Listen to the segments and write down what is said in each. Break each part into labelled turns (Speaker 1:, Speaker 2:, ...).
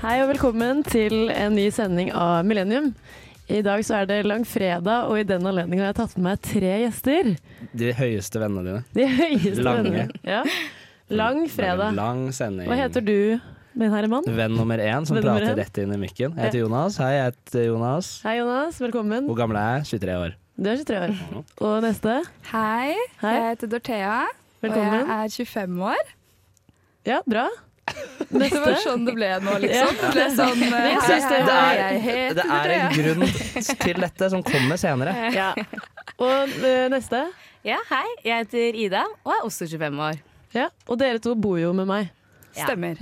Speaker 1: Hei og velkommen til en ny sending av Millennium. I dag så er det langfredag, og i den anledning har jeg tatt med meg tre gjester.
Speaker 2: De høyeste vennene dine.
Speaker 1: De høyeste
Speaker 2: Lange.
Speaker 1: vennene. Ja. Lang
Speaker 2: Det er en
Speaker 1: fredag.
Speaker 2: Lang sending.
Speaker 1: Hva heter du, min herre mann?
Speaker 2: Venn nummer én som
Speaker 1: Venn nummer
Speaker 2: prater
Speaker 1: én.
Speaker 2: rett inn i mikken. Jeg heter Jonas. Hei, jeg heter Jonas.
Speaker 1: Hei, Jonas. Velkommen.
Speaker 2: Hvor gammel er jeg? 23 år.
Speaker 1: Du er 23 år. Og neste.
Speaker 3: Hei,
Speaker 1: Hei.
Speaker 3: jeg heter Dorthea,
Speaker 1: Velkommen.
Speaker 3: og jeg er 25 år.
Speaker 1: Ja, bra.
Speaker 3: Det var sånn det ble nå, liksom. Det ble sånn eh,
Speaker 1: Jeg
Speaker 3: hei,
Speaker 1: synes
Speaker 3: hei,
Speaker 1: det
Speaker 3: hei,
Speaker 1: er-
Speaker 3: jeg
Speaker 2: det
Speaker 3: heter
Speaker 2: er en
Speaker 3: Dorthea.
Speaker 2: grunn til dette som kommer senere.
Speaker 1: Ja. Og eh, neste.
Speaker 4: Ja, hei. Jeg heter Ida og er også 25 år.
Speaker 1: Ja. Og dere to bor jo med meg.
Speaker 4: Ja.
Speaker 3: Stemmer.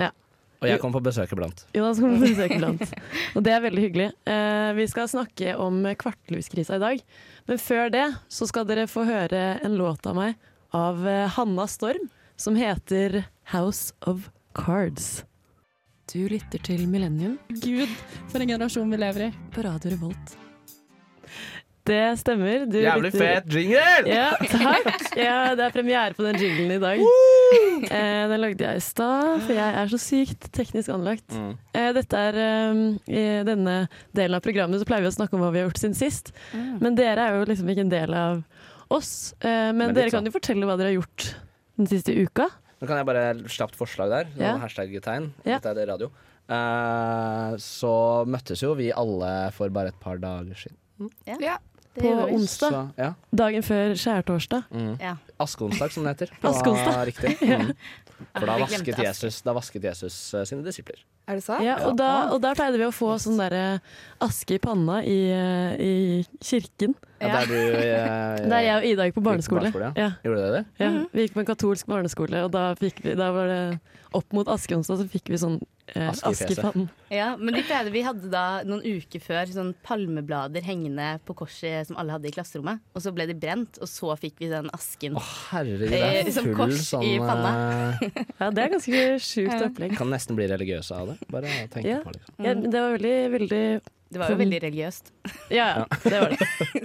Speaker 2: Og jeg kommer på besøk iblant.
Speaker 1: Jonas kommer på besøk iblant. Og det er veldig hyggelig. Eh, vi skal snakke om kvartlivskrisa i dag. Men før det så skal dere få høre en låt av meg av eh, Hanna Storm som heter 'House of Cards'. Du lytter til Millennium
Speaker 5: Gud, for en generasjon vi lever i.
Speaker 1: på Radio Revolt. Det stemmer. Du
Speaker 2: Jævlig
Speaker 1: lytter-
Speaker 2: fet jingle!
Speaker 1: Ja, takk. Ja, det er premiere på den jinglen i dag. Eh, den lagde jeg i stad, for jeg er så sykt teknisk anlagt.
Speaker 2: Mm.
Speaker 1: Eh, dette er eh, I denne delen av programmet så pleier vi å snakke om hva vi har gjort siden sist.
Speaker 4: Mm.
Speaker 1: Men dere er jo liksom ikke en del av oss. Eh, men
Speaker 2: Men litt
Speaker 1: dere kan
Speaker 2: sånn.
Speaker 1: jo fortelle hva dere har gjort den siste uka.
Speaker 2: Nå kan jeg bare slapt forslag der.
Speaker 1: Ja.
Speaker 2: Noen Hashtag-tegn.
Speaker 1: Ja.
Speaker 2: Dette er det radio. Eh, så møttes jo vi alle for bare et par dager siden.
Speaker 3: Ja.
Speaker 4: Det
Speaker 1: På
Speaker 4: gjorde vi.
Speaker 1: onsdag.
Speaker 2: Så, ja.
Speaker 1: Dagen før skjærtorsdag.
Speaker 2: Mm.
Speaker 4: Ja.
Speaker 2: Askeonsdag, som det heter. Det
Speaker 1: Askeonsdag.
Speaker 2: var Riktig. Mm. For da
Speaker 4: Vi glemte
Speaker 2: vasket
Speaker 4: aske.
Speaker 2: Jesus, da vasket Jesus eh, sine disipler.
Speaker 3: Er det sant?
Speaker 1: Ja, og, da, og der pleide vi å få sånn derre aske i panna i, eh, i kirken.
Speaker 2: Ja. Der, du, eh,
Speaker 1: Der jeg og Ida gikk på barneskole.
Speaker 2: barneskole,
Speaker 1: ja.
Speaker 2: Gjorde dere det?
Speaker 1: Ja,
Speaker 4: Mm.
Speaker 1: vi gikk på en katolsk barneskole, og da, fikk vi, da var det opp mot askeonsdag, så fikk vi sånn eh,
Speaker 2: Aske i fjeset.
Speaker 1: aske i pannen.
Speaker 4: Ja, men de pleide, vi hadde da noen uker før sånn palmeblader hengende på korset som alle hadde i klasserommet. Og så ble de brent, og så fikk vi den asken.
Speaker 2: Å herregud, det
Speaker 4: Eh,
Speaker 2: er
Speaker 4: som
Speaker 2: full
Speaker 4: kors
Speaker 2: sånn
Speaker 4: i
Speaker 2: eh,
Speaker 1: Ja, det er ganske sjukt opplegg.
Speaker 2: Kan nesten bli religiøse av det. Bare tenke
Speaker 1: Ja.
Speaker 2: på det. Liksom.
Speaker 1: Ja, men det var veldig, veldig
Speaker 4: Det var jo veldig religiøst.
Speaker 1: Ja, ja, det var det.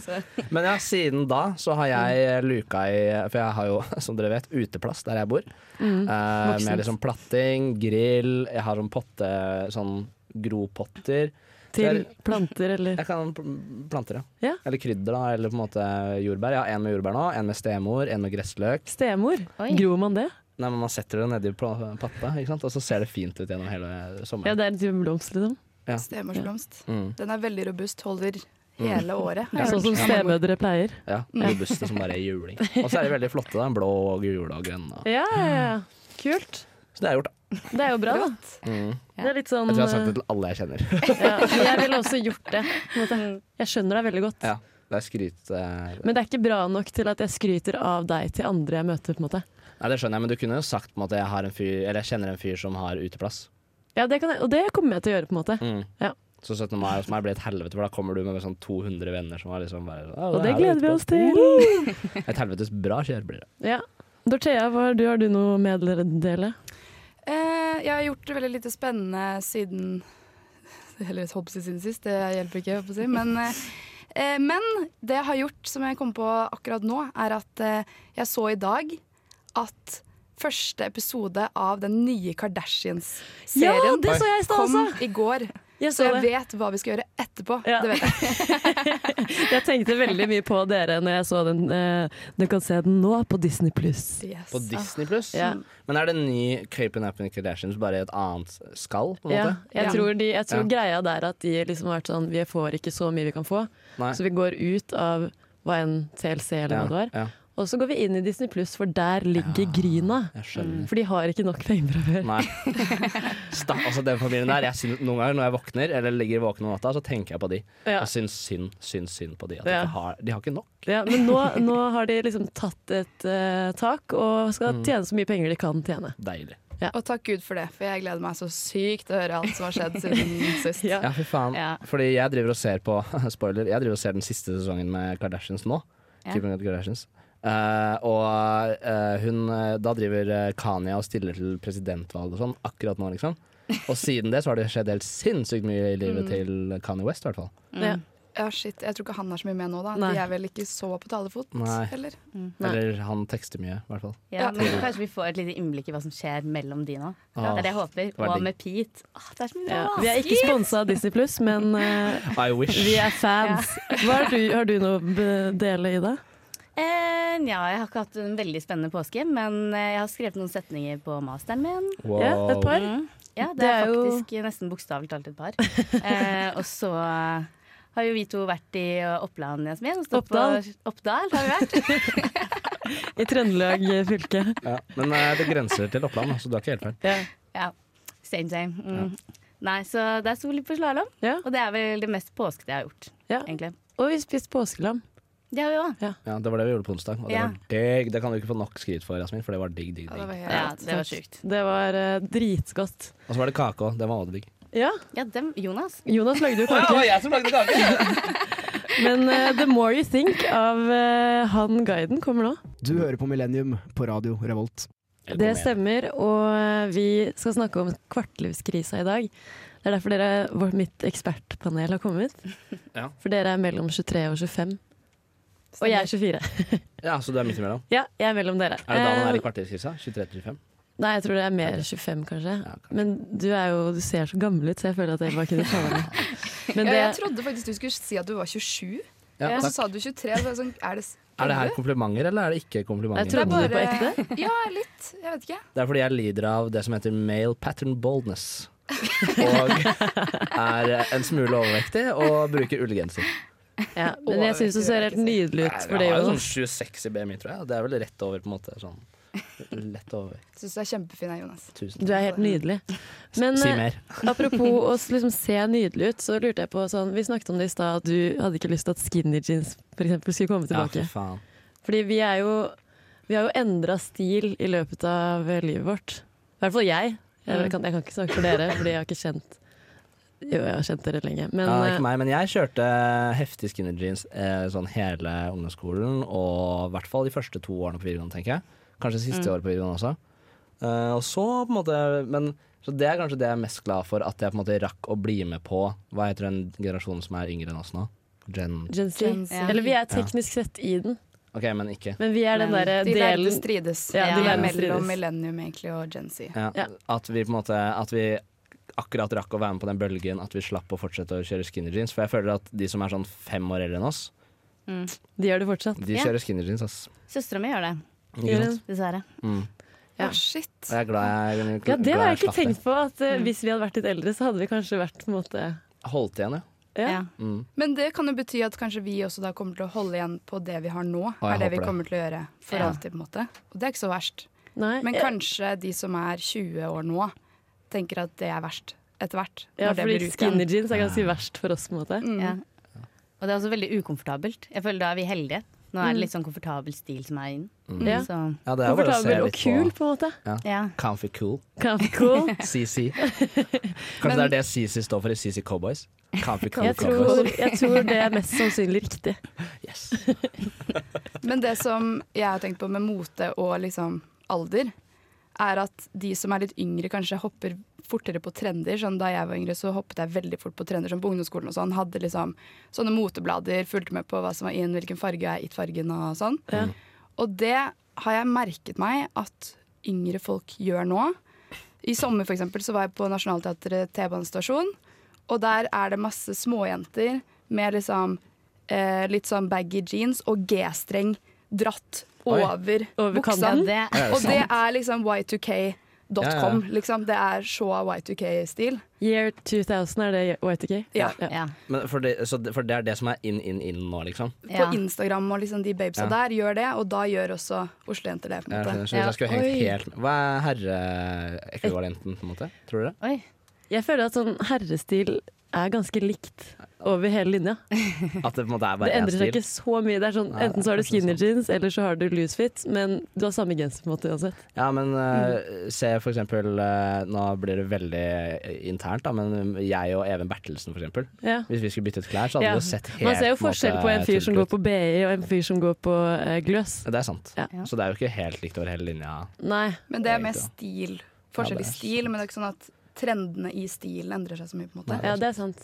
Speaker 4: Så.
Speaker 2: Men ja, siden da så har jeg eh, luka i For jeg har jo, som dere vet, uteplass der jeg bor. Eh,
Speaker 1: voksent.
Speaker 2: med liksom platting, grill, jeg har sånn potte Sånn gropotter.
Speaker 1: Til planter eller
Speaker 2: Jeg kan pl- planter, ja.
Speaker 1: Ja.
Speaker 2: Eller krydder, da. Eller på en måte jordbær. Jeg har en med jordbær nå, en med stemor, en med gressløk.
Speaker 1: stemor.
Speaker 4: Oi.
Speaker 1: Gror man det?
Speaker 2: Nei, men Man setter det nedi pla- patta, ikke sant? og så ser det fint ut gjennom hele
Speaker 1: Ja,
Speaker 2: sommeren.
Speaker 1: det er en type blomst, liksom.
Speaker 3: Stemorsblomst.
Speaker 2: Mm.
Speaker 3: Den er veldig robust, holder hele året. har
Speaker 1: Mm.
Speaker 3: jeg
Speaker 1: Sånn som
Speaker 3: hørt.
Speaker 1: stemødre pleier.
Speaker 2: Ja,
Speaker 1: Mm.
Speaker 2: Robuste som bare er juling. Og så er de veldig flotte. da, Blå og gule og grønne.
Speaker 1: Ja, ja, ja. Kult.
Speaker 2: Så det har jeg gjort. da.
Speaker 1: Det er jo bra, da.
Speaker 2: Mm.
Speaker 1: Det er litt sånn
Speaker 2: Jeg tror jeg har sagt det
Speaker 1: eh,
Speaker 2: til alle jeg kjenner.
Speaker 1: ja, men Jeg ville også gjort det. på en måte. Jeg skjønner deg veldig godt.
Speaker 2: Ja, Det er skryt eh.
Speaker 1: Men det er ikke bra nok til at jeg skryter av deg til andre jeg møter. på en måte
Speaker 2: Nei, det skjønner jeg, men du kunne jo sagt på en måte, jeg, har en fyr, eller jeg kjenner en fyr som har uteplass. Mm.
Speaker 1: Ja, det kan jeg, Og det kommer jeg til å gjøre, på en måte. Ja.
Speaker 2: Så 17. mai hos meg blir et helvete, for da kommer du med sånn 200 venner som har liksom bare sånn, «Å,
Speaker 1: Og det
Speaker 2: der er
Speaker 1: gleder vi
Speaker 2: uteplass».
Speaker 1: oss til.
Speaker 2: Et helvetes bra kjør blir det.
Speaker 1: Ja. Dorthea, hva har du, har du noe meddele?
Speaker 3: Eh, jeg har gjort det veldig lite spennende siden Eller holdt på å si siden sist, det hjelper ikke. holdt på å si. Men, eh, eh, men det jeg har gjort, som jeg kom på akkurat nå, er at eh, jeg så i dag at første episode av den nye Kardashians-serien
Speaker 1: det så jeg i stad
Speaker 3: kom
Speaker 1: også.
Speaker 3: i går.
Speaker 1: Jeg
Speaker 3: Så
Speaker 1: så
Speaker 3: jeg
Speaker 1: det.
Speaker 3: vet hva vi skal gjøre etterpå.
Speaker 1: Ja.
Speaker 3: Det vet jeg.
Speaker 1: Jeg tenkte veldig mye på dere når jeg så den. eh, Du kan se den nå på Disney pluss.
Speaker 3: Yes.
Speaker 2: På Disney pluss?
Speaker 1: Ja.
Speaker 2: Men er det en ny Capin Up in Kardashians bare i et annet skall, på en
Speaker 1: Ja,
Speaker 2: måte?
Speaker 1: jeg
Speaker 3: Ja.
Speaker 1: tror, de, jeg tror
Speaker 2: Ja.
Speaker 1: greia der at de liksom har vært sånn Vi får ikke så mye vi kan få,
Speaker 2: Nei.
Speaker 1: så vi går ut av hva enn TLC eller hva det var.
Speaker 2: Ja,
Speaker 1: Og så går vi inn i Disney pluss, for der ligger gryna.
Speaker 2: jeg skjønner.
Speaker 1: For de har ikke nok penger fra før.
Speaker 2: Nei. Sta, altså den familien der, jeg syns, Noen ganger når jeg våkner eller ligger våken om natta, så tenker jeg på de.
Speaker 1: Ja.
Speaker 2: Jeg syns synd, syns synd på de. At de,
Speaker 1: Ja.
Speaker 2: ikke har, de har ikke nok.
Speaker 1: Ja, men nå, nå har de liksom tatt et eh, tak og skal
Speaker 2: Mm.
Speaker 1: tjene så mye penger de kan tjene.
Speaker 2: Deilig.
Speaker 3: Og takk Gud for det, for jeg gleder meg så sykt til å høre alt som har skjedd siden sist.
Speaker 1: Ja.
Speaker 2: Ja, fy faen.
Speaker 4: Ja.
Speaker 2: Fordi jeg driver og ser på Spoiler, jeg driver og ser den siste sesongen med Kardashians nå.
Speaker 4: Ja.
Speaker 2: Keeping Up with Kardashians. Eh, og eh, hun eh, Da driver eh, Kanye og stiller til presidentvalg og sånn akkurat nå, liksom. Og siden det så har det skjedd helt sinnssykt mye i livet til Kanye West, i hvert fall.
Speaker 1: Ja.
Speaker 3: Ja, shit, Jeg tror ikke han er så mye med nå, da.
Speaker 1: Nei.
Speaker 3: De er vel ikke så på talefot,
Speaker 2: Nei.
Speaker 3: eller?
Speaker 1: Nei.
Speaker 2: Eller han tekster mye, i hvert fall.
Speaker 4: Ja,
Speaker 3: Ja.
Speaker 4: men kanskje vi får et lite innblikk i hva som skjer mellom de nå.
Speaker 2: Ah,
Speaker 4: det er det jeg håper.
Speaker 2: var
Speaker 4: Og
Speaker 2: digg.
Speaker 4: med Pete. Åh, det er så mye
Speaker 1: Ja.
Speaker 4: bra.
Speaker 1: Vi er ikke sponsa av Disney Pluss, men eh,
Speaker 2: I wish.
Speaker 1: vi er fans. Hva har, du, har du noe å be- dele i det?
Speaker 4: Eh, ja, jeg har ikke hatt en veldig spennende påske, men eh, jeg har skrevet noen setninger på masteren min.
Speaker 2: Wow.
Speaker 1: Ja, et par.
Speaker 4: Mm. Ja, det,
Speaker 1: Det
Speaker 4: er
Speaker 1: er jo-
Speaker 4: faktisk nesten bokstavelig talt et par. Eh, og så eh, har jo vi to vært i eh, Oppland, Jasmin. og stått på-
Speaker 1: Oppdal.
Speaker 4: Oppdal har vi vært.
Speaker 1: I Trøndelag eh, fylke.
Speaker 2: Ja. Men eh, det grenser til Oppland, så du er ikke helt feil.
Speaker 1: Ja.
Speaker 4: ja, same same. Mm. Nei, så der sto vi litt på slalåm,
Speaker 1: Ja.
Speaker 4: og det er vel det mest påskete jeg har gjort,
Speaker 1: Ja.
Speaker 4: egentlig.
Speaker 1: Og vi spiste påskelam.
Speaker 4: Det har vi òg.
Speaker 2: Ja, Det var det vi gjorde på onsdag, og det
Speaker 4: Ja.
Speaker 2: var digg. Det kan du ikke få nok skryt for, Jasmin, for det var digg, digg,
Speaker 3: Ja, det
Speaker 2: digg.
Speaker 3: var helt
Speaker 4: Ja, det var sjukt.
Speaker 1: Det var eh, dritgodt.
Speaker 2: Og så var det kake òg. Den var også digg.
Speaker 1: Ja,
Speaker 4: Ja, dem, Jonas.
Speaker 1: Jonas lagde jo kake.
Speaker 2: jeg som lagde kake!
Speaker 1: Men eh, The More You Think av eh, han guiden kommer nå.
Speaker 6: Du hører på Millennium på radio Revolt.
Speaker 1: Det stemmer, og eh, vi skal snakke om kvartlivskrisa i dag. Det er derfor dere, vårt, mitt ekspertpanel har kommet.
Speaker 2: Ja.
Speaker 1: For dere er mellom 23 og 25. Og jeg er 24.
Speaker 2: Ja, Så du er midt imellom?
Speaker 1: Ja, jeg er mellom dere.
Speaker 2: Er det da man er
Speaker 1: Eh,
Speaker 2: i kvarterskrisa? 23-25?
Speaker 1: Nei, jeg tror det er mer 25, kanskje.
Speaker 2: Ja, kanskje.
Speaker 1: Men du, er jo, du ser så gammel ut, så jeg føler at jeg bare kunne ta deg med. Men
Speaker 3: Ja,
Speaker 1: det,
Speaker 3: jeg trodde faktisk du skulle si at du var 27,
Speaker 2: Ja,
Speaker 3: og så
Speaker 2: takk.
Speaker 3: sa du 23. Og så er det sånn, er det s-
Speaker 2: Er det her komplimenter, eller er det ikke komplimenter?
Speaker 1: jeg trodde det
Speaker 3: bare-
Speaker 1: på ekte.
Speaker 3: Ja, litt. Jeg vet ikke.
Speaker 2: Det er fordi jeg lider av det som heter male pattern baldness. Og er en smule overvektig og bruker ullgenser.
Speaker 1: Ja, men jeg syns du ser helt nydelig ut for det,
Speaker 2: jeg har jo
Speaker 1: Jonas.
Speaker 2: sånn 26 i BMI, tror jeg. Det er vel rett over, på en måte. Sånn lett overvekt.
Speaker 3: Syns du er kjempefin, jeg, Jonas.
Speaker 2: Tusen
Speaker 1: Du er helt nydelig. Men
Speaker 2: Si
Speaker 1: eh,
Speaker 2: mer.
Speaker 1: apropos å s- liksom se nydelig ut, så lurte jeg på sånn Vi snakket om det i stad, at du hadde ikke lyst til at skinny jeans for eksempel, skulle komme
Speaker 2: Ja, fy
Speaker 1: tilbake.
Speaker 2: faen.
Speaker 1: Fordi vi er jo Vi har jo endra stil i løpet av eh, livet vårt. I hvert fall jeg. Jeg kan, jeg kan ikke snakke for dere, fordi jeg har ikke kjent Jo, jeg har kjent dere lenge, men
Speaker 2: ja,
Speaker 1: eh,
Speaker 2: ikke meg, men jeg kjørte heftig skinny jeans eh, sånn hele ungdomsskolen, og i hvert fall de første to årene på videregående, tenker jeg. Kanskje
Speaker 1: Mm.
Speaker 2: siste året på videregående også. Eh, og så på en måte men, Så det er kanskje det jeg er mest glad for, at jeg på en måte rakk å bli med på Hva heter den generasjonen som er yngre enn oss nå? Gen
Speaker 1: Gen Z.
Speaker 3: Gen Z.
Speaker 1: Eller vi er teknisk sett i den,
Speaker 2: OK, men ikke.
Speaker 1: men vi er den
Speaker 4: Men
Speaker 1: derre
Speaker 3: De lærde
Speaker 1: Eh, delen
Speaker 3: strides.
Speaker 1: Ja,
Speaker 4: de
Speaker 3: de
Speaker 4: lærde
Speaker 3: er mellom
Speaker 1: strides.
Speaker 3: Millennium egentlig og Gen Z.
Speaker 2: Ja,
Speaker 1: Ja.
Speaker 2: At vi på en måte At vi akkurat rakk å være med på den bølgen, at vi slapp å fortsette å kjøre skinny jeans. For jeg føler at de som er sånn fem år eldre enn oss,
Speaker 1: De gjør det fortsatt.
Speaker 2: de
Speaker 4: Ja.
Speaker 2: kjører skinny jeans, ass.
Speaker 4: Søstera mi gjør det,
Speaker 2: Ikke sant?
Speaker 4: dessverre.
Speaker 2: Mm.
Speaker 1: Ja.
Speaker 3: Å, shit.
Speaker 2: Og jeg er glad jeg,
Speaker 1: Ja, det
Speaker 2: glad
Speaker 1: har jeg ikke
Speaker 2: slapp det.
Speaker 1: tenkt på. At eh,
Speaker 3: Mm.
Speaker 1: Hvis vi hadde vært litt eldre, så hadde vi kanskje vært på en måte
Speaker 2: Holdt igjen, ja.
Speaker 1: Ja.
Speaker 4: Ja.
Speaker 2: Mm.
Speaker 3: Men det kan jo bety at kanskje vi også da kommer til å holde igjen på det vi har nå.
Speaker 2: jeg
Speaker 3: er det
Speaker 2: håper
Speaker 3: vi
Speaker 2: det.
Speaker 3: kommer til å gjøre for
Speaker 4: Ja.
Speaker 3: alltid, på en måte. Og det er ikke så verst.
Speaker 1: Nei.
Speaker 3: Men
Speaker 1: eh,
Speaker 3: kanskje de som er 20 år nå, tenker at det er verst etter hvert.
Speaker 1: ja,
Speaker 3: når det
Speaker 1: fordi
Speaker 3: blir ut igjen.
Speaker 1: skinny jeans er ganske verst for oss, på en måte.
Speaker 3: Mm.
Speaker 4: Ja. Og det er også veldig ukomfortabelt. Jeg føler Da er vi heldige. Nå er det litt sånn komfortabel stil som er inn.
Speaker 1: Mm. Ja.
Speaker 4: Så,
Speaker 2: ja, det er bare å se
Speaker 1: Komfortabel og
Speaker 2: litt
Speaker 1: kul,
Speaker 2: på
Speaker 1: på en måte.
Speaker 4: ja.
Speaker 2: Comfy cool.
Speaker 1: Comfy cool.
Speaker 2: CC. Kanskje det er det CC står for i CC Cowboys? Comfy cool
Speaker 1: Jeg
Speaker 2: cowboys.
Speaker 1: tror, jeg tror det er mest sannsynlig riktig.
Speaker 2: Yes.
Speaker 3: Men det som jeg har tenkt på med mote og liksom alder, er at de som er litt yngre, kanskje hopper fortere på trender. Sånn da jeg var yngre, så hoppet jeg veldig fort på trender, sånn på ungdomsskolen og sånn. Hadde liksom sånne moteblader, fulgte med på hva som var inn, hvilken farge er gitt fargen og sånn.
Speaker 1: Ja.
Speaker 3: Og det har jeg merket meg at yngre folk gjør nå. I sommer for eksempel, så var jeg på Nationaltheatret T-banestasjon, og der er det masse småjenter med liksom eh, litt sånn baggy jeans og G-streng dratt
Speaker 2: Oi.
Speaker 3: over
Speaker 1: Over
Speaker 3: buksa.
Speaker 4: ja,
Speaker 1: kanten.
Speaker 4: det
Speaker 2: Er det
Speaker 3: Og det er liksom y2k.com,
Speaker 2: Ja, ja.
Speaker 3: liksom. Det er så y2k-stil.
Speaker 1: Year 2000, er det Y2K?
Speaker 3: Ja.
Speaker 4: ja.
Speaker 2: Men for, det, så det, for det er det som er inn, inn, inn nå, liksom?
Speaker 4: Ja.
Speaker 3: På Instagram og liksom de babesa
Speaker 2: Ja.
Speaker 3: der gjør det, og da gjør også Oslo-jenter det. på
Speaker 2: Jeg
Speaker 3: en
Speaker 2: skjønner,
Speaker 3: måte.
Speaker 2: så hvis jeg skulle hengt
Speaker 1: Oi.
Speaker 2: helt med. Hva er herreekvivalenten, på en måte? Tror du det?
Speaker 4: Oi.
Speaker 1: Jeg føler at sånn herrestil er ganske likt over hele linja.
Speaker 2: At det på en måte er
Speaker 1: Det
Speaker 2: bare én
Speaker 1: endrer seg
Speaker 2: stil?
Speaker 1: ikke så mye. Det er sånn,
Speaker 2: Nei,
Speaker 1: enten så har du
Speaker 2: kanskje
Speaker 1: skinny
Speaker 2: sant.
Speaker 1: jeans, eller så har du loose fit, men du har samme genser på en måte uansett.
Speaker 2: Ja, men
Speaker 1: Mm.
Speaker 2: eh, se for eksempel eh, Nå blir det veldig eh, internt, da, men jeg og Even Bertelsen, for eksempel.
Speaker 1: Ja.
Speaker 2: Hvis vi skulle byttet klær, så hadde
Speaker 1: Ja.
Speaker 2: vi jo sett helt
Speaker 1: Man ser jo
Speaker 2: på en måte,
Speaker 1: forskjell på en fyr som
Speaker 2: tullete
Speaker 1: går
Speaker 2: ut.
Speaker 1: på BI, og en fyr som går på eh, gløs.
Speaker 2: Det er sant.
Speaker 1: Ja.
Speaker 2: Så det er jo ikke helt likt over hele linja.
Speaker 1: Nei.
Speaker 3: Men det er mer
Speaker 2: Egentlig,
Speaker 3: stil.
Speaker 2: Ja,
Speaker 3: Forskjellig
Speaker 2: det er
Speaker 3: stil, men det er ikke sånn at trendene i stilen endrer seg så mye. på en måte.
Speaker 1: Ja, det er sant.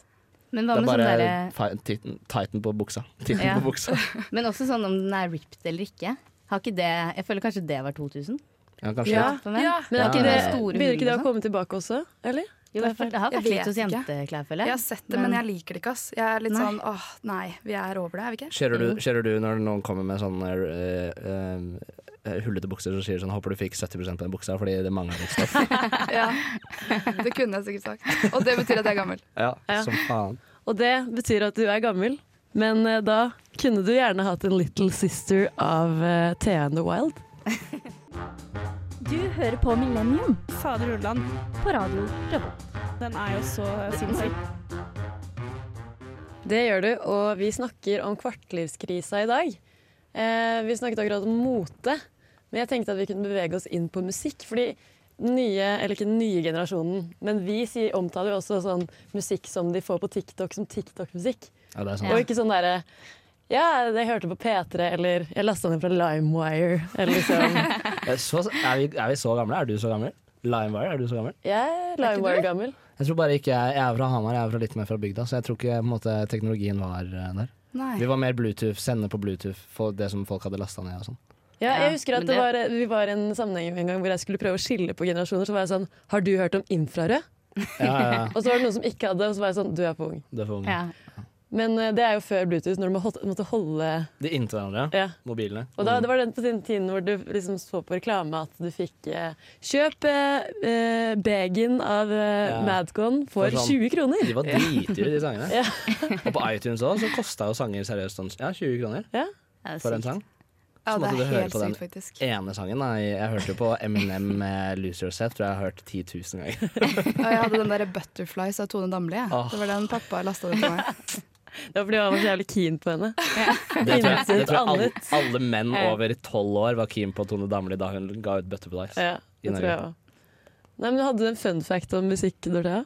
Speaker 4: Men hva
Speaker 2: Det er
Speaker 4: med
Speaker 2: bare
Speaker 4: sånn derre
Speaker 2: fi- titten, tighten på buksa. Titten
Speaker 4: Ja.
Speaker 2: på buksa.
Speaker 4: Men også sånn om den er ripped eller ikke. Har ikke det Jeg føler kanskje det var 2000.
Speaker 2: Ja, kanskje.
Speaker 1: Ja.
Speaker 4: for menn.
Speaker 1: Men er
Speaker 2: Ja,
Speaker 1: ikke det,
Speaker 2: det er
Speaker 4: store
Speaker 1: begynner ikke det
Speaker 4: hull
Speaker 1: å
Speaker 4: og sånn.
Speaker 1: komme tilbake også? Eller?
Speaker 4: Jo, i hvert fall, det har
Speaker 3: Jeg
Speaker 4: vært litt hos
Speaker 3: vet ikke.
Speaker 4: jenteklær, føler
Speaker 3: Jeg har
Speaker 4: jeg.
Speaker 3: sett det, men jeg liker det ikke. ass Jeg er litt
Speaker 4: Nei.
Speaker 3: sånn åh, nei, vi er over det, er vi ikke?
Speaker 2: Kjører,
Speaker 1: Mm.
Speaker 2: du, kjører du når noen kommer med sånn eh, eh, eh, hullete bukser og sier sånn 'håper du fikk 70 på den buksa fordi det mangler litt stoff'?
Speaker 3: Ja. Det kunne jeg sikkert sagt. Og det betyr at jeg er gammel.
Speaker 2: ja,
Speaker 1: Ja.
Speaker 2: som faen.
Speaker 1: Og det betyr at du er gammel, men eh, da kunne du gjerne hatt en Little Sister av eh, Thea and the Wild.
Speaker 7: Du hører på Millennium
Speaker 5: Fader Ulland,
Speaker 7: på Radio Revolt.
Speaker 5: den er jo så sinnssyk.
Speaker 1: Det gjør du, og vi snakker om kvartlivskrisa i dag. Eh, vi snakket akkurat om mote, men jeg tenkte at vi kunne bevege oss inn på musikk. Fordi den nye, eller ikke den nye generasjonen, men vi sier, omtaler jo også sånn musikk som de får på TikTok, som TikTok-musikk.
Speaker 2: Ja, det er sant.
Speaker 1: Og ikke sånn derre Ja, jeg hørte på P3, eller jeg lasta ned fra LimeWire, eller liksom
Speaker 2: Eh, Så, er, vi, er vi så gamle? Er du så gammel? Limewire, er du så gammel?
Speaker 1: Jeg er LimeWire-gammel.
Speaker 2: Jeg tror bare ikke jeg, jeg er fra Hamar, jeg er fra litt mer fra bygda, så jeg tror ikke på en måte, teknologien var eh, der.
Speaker 3: Nei.
Speaker 2: Vi var mer Bluetooth, sende på Bluetooth, få det som folk hadde lasta ned og sånn.
Speaker 1: Ja,
Speaker 4: Ja,
Speaker 1: jeg husker at
Speaker 4: men
Speaker 1: det
Speaker 4: det-
Speaker 1: var, Vi var i en sammenheng en gang hvor jeg skulle prøve å skille på generasjoner. Så var jeg sånn Har du hørt om infrarød?
Speaker 2: Ja, ja, ja.
Speaker 1: Og så var det noen som ikke hadde, og så var jeg sånn Du er for ung.
Speaker 2: Det får
Speaker 4: Ja.
Speaker 1: Men eh, det er jo før Bluetooth, når du må hol- måtte holde
Speaker 2: De inntil hverandre,
Speaker 1: ja.
Speaker 2: mobilene. Mm.
Speaker 1: Og da, det var den på den tiden hvor du liksom så på reklame at du fikk eh, Kjøp eh, eh, bagen av eh,
Speaker 2: Ja.
Speaker 1: Madcon for
Speaker 2: For sånn-
Speaker 1: 20 kroner.
Speaker 2: De var dritdyre, de sangene.
Speaker 1: Ja.
Speaker 2: Og på iTunes òg, så kosta jo sanger seriøst sånn ja, 20 kroner
Speaker 4: Ja, det er
Speaker 2: for en
Speaker 4: sykt.
Speaker 2: sang.
Speaker 3: Ja,
Speaker 2: Så
Speaker 3: det
Speaker 2: måtte du
Speaker 3: er
Speaker 2: høre
Speaker 3: helt
Speaker 2: på den.
Speaker 3: sykt, faktisk.
Speaker 2: Ene sangen, da. Jeg hørte jo på Eminem med 'Lose Yourself', tror jeg har hørt 10 000 ganger.
Speaker 3: Og jeg hadde den der Butterflies av Tone Damli. jeg.
Speaker 2: Åh.
Speaker 3: Det var den pappa lasta den på meg.
Speaker 1: Det var fordi jeg var så jævlig keen på henne.
Speaker 2: Det tror jeg, det
Speaker 1: Intet
Speaker 2: tror jeg alle,
Speaker 1: annet.
Speaker 2: alle menn over 12 år var keen på Tone Damli da hun ga ut 'Butterflies'.
Speaker 1: Ja, det tror jeg også. Nei, men Hadde du en fun fact om musikk, Dorthea?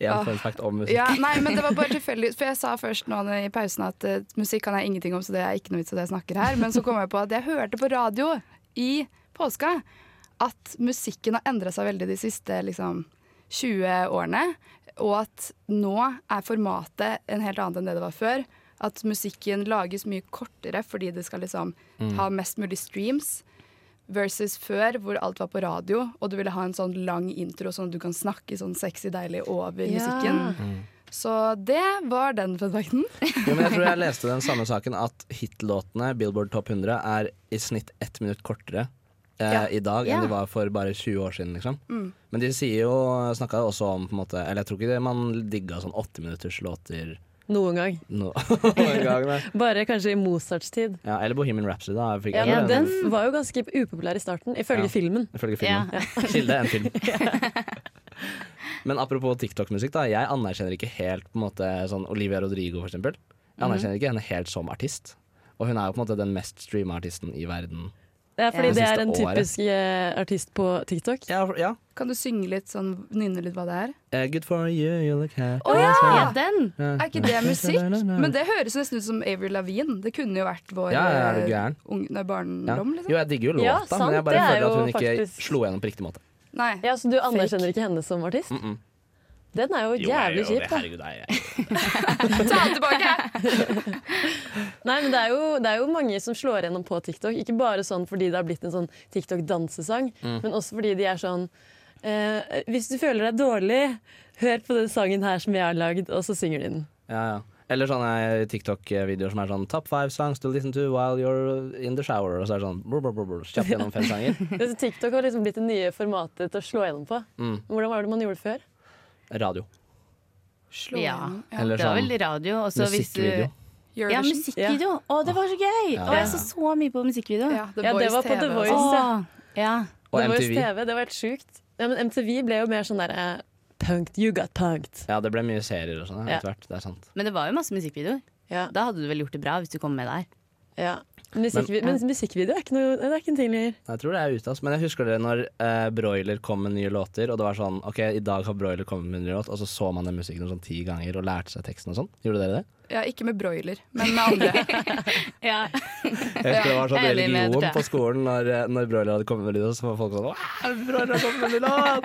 Speaker 2: En
Speaker 3: Ah.
Speaker 2: fun fact om musikk.
Speaker 3: Ja, nei, men det var bare tilfeldig. For jeg sa først nå i pausen at eh, musikk kan jeg ingenting om, så det er ikke noe vits at jeg snakker her. Men så kom jeg på at jeg hørte på radio i påska at musikken har endra seg veldig de siste liksom, 20 årene. Og at nå er formatet en helt annet enn det det var før. At musikken lages mye kortere fordi det skal liksom ha mest mulig streams. Versus før, hvor alt var på radio, og du ville ha en sånn lang intro, sånn at du kan snakke sånn sexy deilig over musikken. Så det var den funfacten.
Speaker 2: Jo, men jeg tror jeg leste den samme saken at hitlåtene Billboard Top 100 er i snitt ett minutt kortere eh,
Speaker 3: Ja.
Speaker 2: i dag
Speaker 4: Ja.
Speaker 2: enn de var for bare 20 år siden. Liksom. Men de sier jo, snakka jo også om på en måte, Eller jeg tror ikke det, man digga sånn åtteminutterslåter
Speaker 1: Noen gang.
Speaker 2: nå. en gang, nei.
Speaker 1: Bare kanskje i Mozarts tid.
Speaker 2: ja, eller Bohemian Rhapsody, da. Fikk
Speaker 1: Ja,
Speaker 2: jeg
Speaker 1: men
Speaker 2: det,
Speaker 1: Den var jo ganske upopulær i starten, ifølge
Speaker 2: Ja.
Speaker 1: filmen.
Speaker 2: Ifølge filmen. Kilde en film. Men apropos TikTok-musikk, da. Jeg anerkjenner ikke helt på en måte sånn Olivia Rodrigo, for eksempel. Jeg
Speaker 1: Mhm.
Speaker 2: anerkjenner ikke henne helt som artist. Og hun er jo på en måte den mest streama artisten i verden.
Speaker 1: Det er fordi
Speaker 4: Ja.
Speaker 1: det
Speaker 2: Det
Speaker 1: er en
Speaker 2: siste året.
Speaker 1: typisk eh, artist på TikTok.
Speaker 2: Ja, ja.
Speaker 3: Kan du synge litt sånn, nynne litt hva det er?
Speaker 2: Eh, good for you, you look happy.
Speaker 3: Å ja!
Speaker 4: Ja, den!
Speaker 3: Er ikke det musikk? Men det høres nesten ut som Avery Lavigne. Det kunne jo vært vår
Speaker 2: Ja, ja, er du gæren?
Speaker 3: eh, ung- nei,
Speaker 2: Ja.
Speaker 3: barndom,
Speaker 2: Jo,
Speaker 3: liksom.
Speaker 2: jeg digger jo låta,
Speaker 1: Ja, sant,
Speaker 2: men
Speaker 1: det
Speaker 2: jeg bare
Speaker 1: er
Speaker 2: føler at
Speaker 1: jo
Speaker 2: hun ikke
Speaker 1: faktisk-
Speaker 2: slo gjennom på riktig måte.
Speaker 3: Nei.
Speaker 1: Ja, Så du anerkjenner ikke henne som artist?
Speaker 2: Mm-mm.
Speaker 1: Den er jo jævlig kjip. da.
Speaker 3: Ta den tilbake!
Speaker 1: Nei, men det er, jo, det er jo mange som slår gjennom på TikTok. Ikke bare sånn fordi det har blitt en sånn TikTok-dansesang,
Speaker 2: Mm.
Speaker 1: men også fordi de er sånn eh, Hvis du føler deg dårlig, hør på den sangen her som jeg har lagd, og så synger de den.
Speaker 2: Ja, ja. Eller sånne TikTok-videoer som er sånn 'Top five songs to listen to while you're in the shower'. Og så er det sånn brr, brr, brr, brr, kjapt gjennom fem sanger.
Speaker 1: Så TikTok har liksom blitt det nye formatet til å slå gjennom på.
Speaker 2: Mm.
Speaker 1: Hvordan var det man gjorde det før?
Speaker 2: Radio.
Speaker 3: Slå
Speaker 4: Ja.
Speaker 3: igjennom. Ja. sånn.
Speaker 2: Eller
Speaker 4: Det var vel
Speaker 2: sånn
Speaker 4: radio. og så hvis du-
Speaker 2: musikkvideo.
Speaker 4: Ja,
Speaker 3: Eurovision.
Speaker 4: musikkvideo. Å, det var så gøy!
Speaker 2: Ja.
Speaker 4: Å, jeg så så mye på musikkvideo.
Speaker 3: Ja, The
Speaker 1: Ja, det
Speaker 3: Voice
Speaker 1: var på
Speaker 3: TV
Speaker 1: The
Speaker 3: og
Speaker 1: Voice.
Speaker 3: sånn.
Speaker 4: Å, ja.
Speaker 2: Og
Speaker 1: det var jo
Speaker 2: MTV.
Speaker 1: TV, det var helt sjukt. Ja, men MTV ble jo mer sånn derre Punked, you got punked.
Speaker 2: Ja, det ble mye serier og sånn
Speaker 1: Ja.
Speaker 2: etter hvert. Det er sant.
Speaker 4: Men det var jo masse musikkvideoer.
Speaker 1: Ja.
Speaker 4: Da hadde du vel gjort det bra hvis du kom med der.
Speaker 1: Ja. Musikkvi men musikkvideo er ikke, noe, det er ikke en ting lenger.
Speaker 2: Jeg tror det er ute, ass. Men jeg husker det når eh, Broiler kom med nye låter, og det var sånn OK, i dag har Broiler kommet med en ny låt, og så så man den musikken sånn ti ganger og lærte seg teksten og sånn. Gjorde dere det?
Speaker 3: Ja, ikke med broiler, men med andre.
Speaker 4: Ja.
Speaker 2: Jeg husker det var sånn
Speaker 4: Jeg er enig med
Speaker 2: religion
Speaker 4: dere.
Speaker 2: på skolen når, eh, når broiler hadde kommet med lyd, og så var folk sånn «Wow, broiler har kommet med lyd, og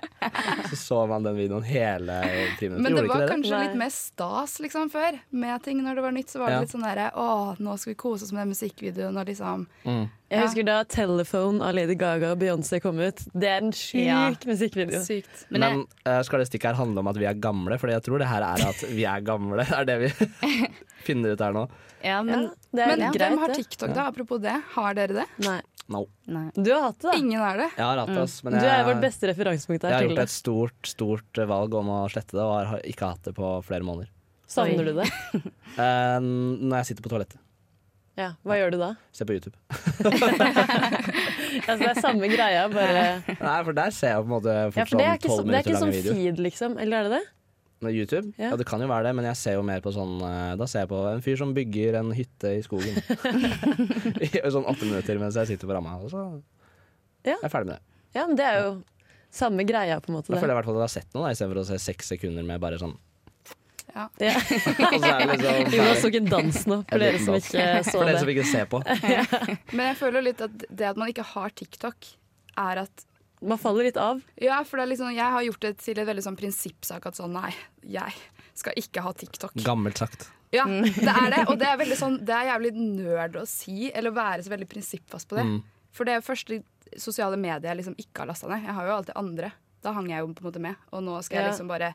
Speaker 2: Så så man den videoen hele friminutten.
Speaker 3: Men det
Speaker 2: Gjorde ikke
Speaker 3: var
Speaker 2: dere det?
Speaker 3: kanskje
Speaker 1: Nei.
Speaker 3: litt mer stas liksom før. Med ting når det var nytt, så var
Speaker 2: Ja.
Speaker 3: det litt sånn derre Å, nå skal vi kose oss med den musikkvideoen og liksom
Speaker 2: Mm.
Speaker 1: Jeg
Speaker 3: Ja.
Speaker 1: husker da 'Telephone' av Lady Gaga og Beyoncé kom ut. Det er en sjuk
Speaker 4: Ja.
Speaker 1: musikkvideo.
Speaker 3: Sykt.
Speaker 4: Men
Speaker 2: Men,
Speaker 4: jeg,
Speaker 2: eh, skal det stikket her handle om at vi er gamle? Fordi jeg tror det her er at vi er gamle. Det er det vi finner ut her nå.
Speaker 4: ja, men
Speaker 1: det
Speaker 3: Men
Speaker 1: litt
Speaker 3: hvem har
Speaker 1: det.
Speaker 3: TikTok, da? Apropos det, har dere det?
Speaker 1: Nei.
Speaker 2: No.
Speaker 4: nei.
Speaker 1: Du har hatt det, da.
Speaker 3: Ingen har det.
Speaker 2: Jeg har hatt det, ass. Men
Speaker 1: Du
Speaker 2: jeg,
Speaker 1: er vårt beste referansepunkt
Speaker 2: jeg
Speaker 1: her.
Speaker 2: har gjort
Speaker 1: Tilde.
Speaker 2: et stort, stort eh, valg om å slette det, og har- har ikke hatt det på flere måneder.
Speaker 1: Savner du det?
Speaker 2: Eh, når jeg sitter på toalettet.
Speaker 1: Ja. Hva gjør du da?
Speaker 2: Ser på YouTube.
Speaker 1: Altså, det er samme greia, bare
Speaker 2: Nei, for der ser jeg på en måte
Speaker 1: ja,
Speaker 2: fort
Speaker 1: for det er
Speaker 2: sånn
Speaker 1: ikke, så,
Speaker 2: 12
Speaker 1: det er
Speaker 2: minutter
Speaker 1: ikke
Speaker 2: lange
Speaker 1: sånn
Speaker 2: videoer.
Speaker 1: feed, liksom. Eller er det det?
Speaker 2: Nå, YouTube?
Speaker 1: Ja.
Speaker 2: Ja. det kan jo være det, men jeg ser jo mer på sånn eh, Da ser jeg på en fyr som bygger en hytte i skogen. I sånn åtte minutter mens jeg sitter på ramma, og så
Speaker 1: Ja.
Speaker 2: er jeg ferdig med det.
Speaker 1: Ja, men det er jo samme greia, på en måte.
Speaker 2: Da
Speaker 1: Det.
Speaker 2: føler jeg i hvert fall at jeg har sett noe, da, istedenfor å se seks sekunder med bare sånn
Speaker 3: Ja.
Speaker 1: Ja.
Speaker 2: Og så er det liksom
Speaker 1: Jonas
Speaker 2: ferdig.
Speaker 1: tok en dans nå,
Speaker 2: Jeg
Speaker 1: for dere
Speaker 2: tok en
Speaker 1: som ikke
Speaker 2: dans.
Speaker 1: så
Speaker 2: For dere som
Speaker 1: det.
Speaker 2: ikke ser på.
Speaker 3: Men jeg føler litt at det at man ikke har TikTok, er at
Speaker 1: Man faller litt av.
Speaker 3: Ja, for det er liksom, jeg har gjort det til en veldig sånn prinsippsak at sånn nei, jeg skal ikke ha TikTok.
Speaker 2: Gammelt sagt.
Speaker 3: Ja, det er det. Og det er, veldig sånn, det er jævlig nerd å si, eller være så veldig prinsippfast på det.
Speaker 2: Mm.
Speaker 3: For det er første sosiale medier jeg liksom ikke har lasta ned. Jeg har jo alltid andre. Da hang jeg jo på en måte med. Og nå skal
Speaker 1: Ja.
Speaker 3: jeg liksom bare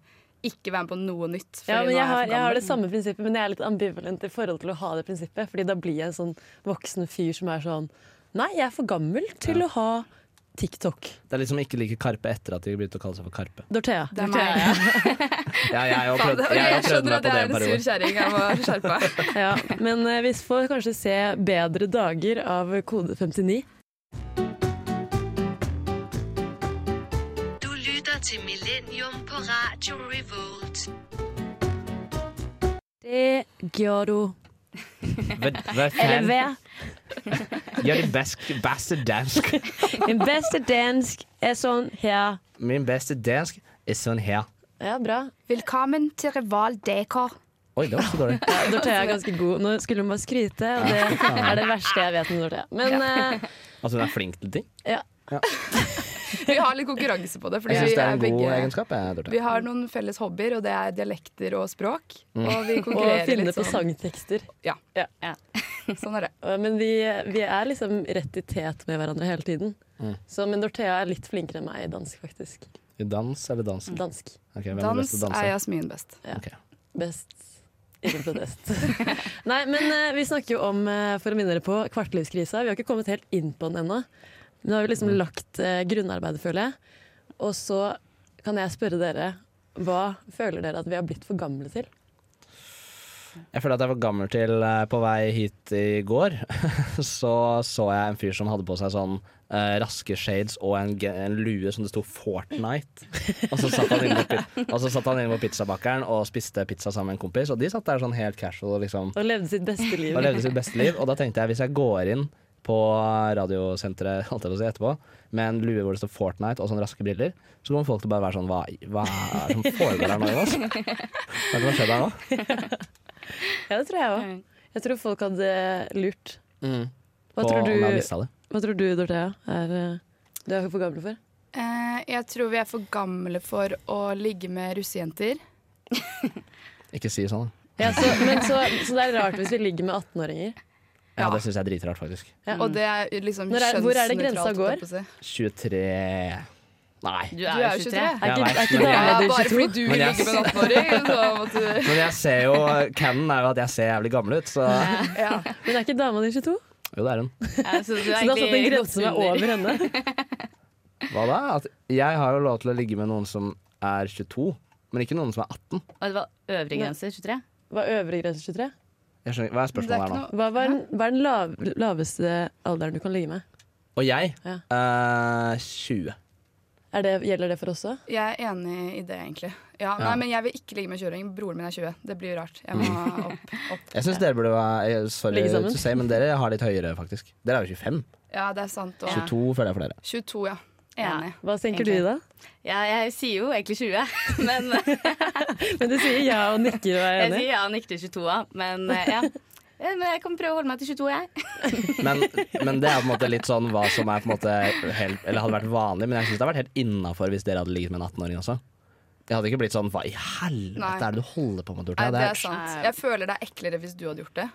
Speaker 3: ikke være med på noe
Speaker 1: Ja,
Speaker 3: nytt. fordi
Speaker 1: men
Speaker 3: nå
Speaker 1: jeg har,
Speaker 3: er for
Speaker 1: jeg har
Speaker 3: gammel.
Speaker 1: det samme prinsippet, men jeg er litt ambivalent i forhold til å ha det prinsippet. Fordi da blir jeg en sånn voksen fyr som er sånn Nei, jeg er for gammel til å ha TikTok.
Speaker 2: Det er liksom ikke like Karpe etter at de begynte å kalle seg for Karpe.
Speaker 1: Dorthea.
Speaker 3: Det er meg.
Speaker 2: Ja, jeg har
Speaker 3: Faen,
Speaker 2: prøvd,
Speaker 3: det-
Speaker 2: jeg har
Speaker 3: Jeg
Speaker 2: prøvd
Speaker 3: skjønner
Speaker 2: meg
Speaker 3: at
Speaker 2: på det
Speaker 3: jeg er
Speaker 2: en
Speaker 3: en sur
Speaker 2: periode.
Speaker 3: kjerring. Jeg må skjerpe meg.
Speaker 1: Ja, men eh, vi får kanskje se bedre dager av kode 59.
Speaker 8: Du lytter til Millennium på Radio Revolt.
Speaker 1: Det gjør du.
Speaker 2: Hva- hva
Speaker 1: Eller
Speaker 2: faen?
Speaker 1: hva?
Speaker 2: Gjør din best- beste dansk.
Speaker 1: Min beste dansk er sånn her.
Speaker 2: Min beste dansk er sånn her.
Speaker 1: Ja, bra.
Speaker 3: Velkommen til Rival DK.
Speaker 2: Oi, det var ikke så dårlig.
Speaker 1: Ja, Dorthea er ganske god. Nå skulle hun bare skryte, og det er det verste jeg vet om Dorthea. Men eh,
Speaker 2: At Altså, hun er flink til ting.
Speaker 3: Vi har litt konkurranse på det. Fordi
Speaker 2: Jeg syns
Speaker 3: vi
Speaker 2: det er en
Speaker 3: begge,
Speaker 2: god egenskap. Jeg, Dorte.
Speaker 3: Vi har noen felles hobbyer, og det er dialekter og språk. Og vi
Speaker 1: å
Speaker 3: konkurrerer
Speaker 1: Mm. finne
Speaker 3: litt
Speaker 1: på
Speaker 3: sånn.
Speaker 1: sangtekster.
Speaker 3: Sånn er det.
Speaker 1: Eh, Men vi, vi er liksom rett i tet med hverandre hele tiden.
Speaker 2: Mm.
Speaker 1: Så, men Dorthea er litt flinkere enn meg i dansk, faktisk.
Speaker 2: I Dans eller dansk?
Speaker 1: Dansk.
Speaker 2: Ok, hvem er
Speaker 3: Dans
Speaker 2: best til å danse?
Speaker 3: er Jasmin best.
Speaker 1: Best. Ingen protest. Nei, men eh, vi snakker jo om, eh, for å minne dere på, kvartlivskrisa. Vi har ikke kommet helt inn på den ennå. Men nå har vi liksom lagt eh, grunnarbeidet, føler jeg. Og så kan jeg spørre dere, hva føler dere at vi har blitt for gamle til?
Speaker 2: Jeg føler at jeg var gammel til eh, På vei hit i går så så jeg en fyr som hadde på seg sånn eh, raske shades og en, ge- en lue som det sto Fortnite. Og så satt han inne på, pi- og så satt han inne på pizzabakeren og spiste pizza sammen med en kompis, og de satt der sånn helt casual og liksom
Speaker 1: Og levde sitt beste liv.
Speaker 2: og levde sitt beste liv. Og da tenkte jeg hvis jeg går inn på radiosenteret holdt jeg på å si, etterpå med en lue hvor det står Fortnite og sånne raske briller, så kommer folk til å bare være sånn Hva, hva er det som foregår her nå, Jonas? Hva er det som har skjedd her nå?
Speaker 1: Ja, det tror jeg òg.
Speaker 4: Mm.
Speaker 1: Jeg tror folk hadde eh, lurt. Hva
Speaker 2: På
Speaker 1: tror
Speaker 2: Om jeg har
Speaker 1: du,
Speaker 2: mistet det.
Speaker 1: hva tror du Dorthea, er eh, du er for gammel for?
Speaker 3: Eh, jeg tror vi er for gamle for å ligge med russejenter.
Speaker 2: Ikke si sånn. da.
Speaker 1: Ja, så, men så, så det er rart hvis vi ligger med 18-åringer.
Speaker 2: Ja,
Speaker 3: Ja.
Speaker 2: det syns jeg er dritrart, faktisk.
Speaker 1: Ja.
Speaker 3: Og det er liksom
Speaker 1: Når er- hvor er det grensa
Speaker 3: kjønnsnøytralt,
Speaker 1: går?
Speaker 3: holdt jeg på å si.
Speaker 2: 23 Nei.
Speaker 4: Du
Speaker 3: Du
Speaker 4: er
Speaker 3: er
Speaker 4: jo
Speaker 3: 23.
Speaker 4: 23.
Speaker 1: Er
Speaker 2: Jeg
Speaker 1: ikke,
Speaker 2: vet,
Speaker 1: er ikke
Speaker 2: men jeg-
Speaker 1: damene
Speaker 3: Ja,
Speaker 1: dine
Speaker 3: bare
Speaker 1: 22?
Speaker 3: fordi du
Speaker 2: Men
Speaker 3: vil
Speaker 2: jeg-
Speaker 3: ligge med en 18-åring, så måtte du
Speaker 2: Men jeg ser jo Canon er jo at jeg ser jævlig gammel ut, så
Speaker 3: ja.
Speaker 1: Men er ikke damene dine 22?
Speaker 2: Jo, det er hun.
Speaker 4: Ja, så du
Speaker 1: Så du
Speaker 4: er
Speaker 1: har
Speaker 4: egentlig
Speaker 1: satt en
Speaker 4: godt
Speaker 1: grense som er
Speaker 4: under.
Speaker 1: over henne?
Speaker 2: Hva da? At jeg har jo lov til å ligge med noen som er 22, men ikke noen som er 18.
Speaker 4: Og det var øvre grense 23?
Speaker 1: Hva er øvre grense 23?
Speaker 2: Jeg skjønner, hva er
Speaker 3: Men det er
Speaker 2: spørsmålet her
Speaker 3: ikke
Speaker 2: nå?
Speaker 3: noe
Speaker 1: Hva er den, hva er den lav, laveste alderen du kan ligge med?
Speaker 2: Og jeg?
Speaker 1: Ja.
Speaker 2: Eh, 20.
Speaker 1: Er det, gjelder det for oss òg?
Speaker 3: Jeg er enig i det, egentlig. Ja, nei,
Speaker 2: Ja.
Speaker 3: men jeg vil ikke ligge med 20-åring. Broren min er 20. Det blir rart. Jeg må
Speaker 1: Mm.
Speaker 3: opp. opp.
Speaker 2: Jeg syns dere burde være eh, Sorry
Speaker 1: Ligge sammen.
Speaker 2: to say, men dere har litt høyere, faktisk. Dere er jo 25.
Speaker 3: Ja, det er sant. Og
Speaker 4: Ja.
Speaker 2: 22 føler jeg for dere.
Speaker 3: 22, ja. Enig.
Speaker 1: Hva tenker du, Ida?
Speaker 4: Ja, jeg sier jo egentlig 20, men
Speaker 1: Men du sier ja og nikker og er
Speaker 4: jeg
Speaker 1: enig.
Speaker 4: sier ja og nikter 22, ja. men eh, ja. Eh, Men jeg kan prøve å holde meg til 22, jeg.
Speaker 2: Men, men det er på en måte litt sånn hva som er på en måte helt, Eller hadde vært vanlig, men jeg syns det hadde vært helt innafor hvis dere hadde ligget med en 18-åring også. Jeg hadde ikke blitt sånn Hva i helvete
Speaker 3: Nei.
Speaker 2: er det du holder på med, Dorte?
Speaker 3: Nei, det er
Speaker 2: Det
Speaker 3: sant. Jeg føler det er eklere hvis du hadde gjort det.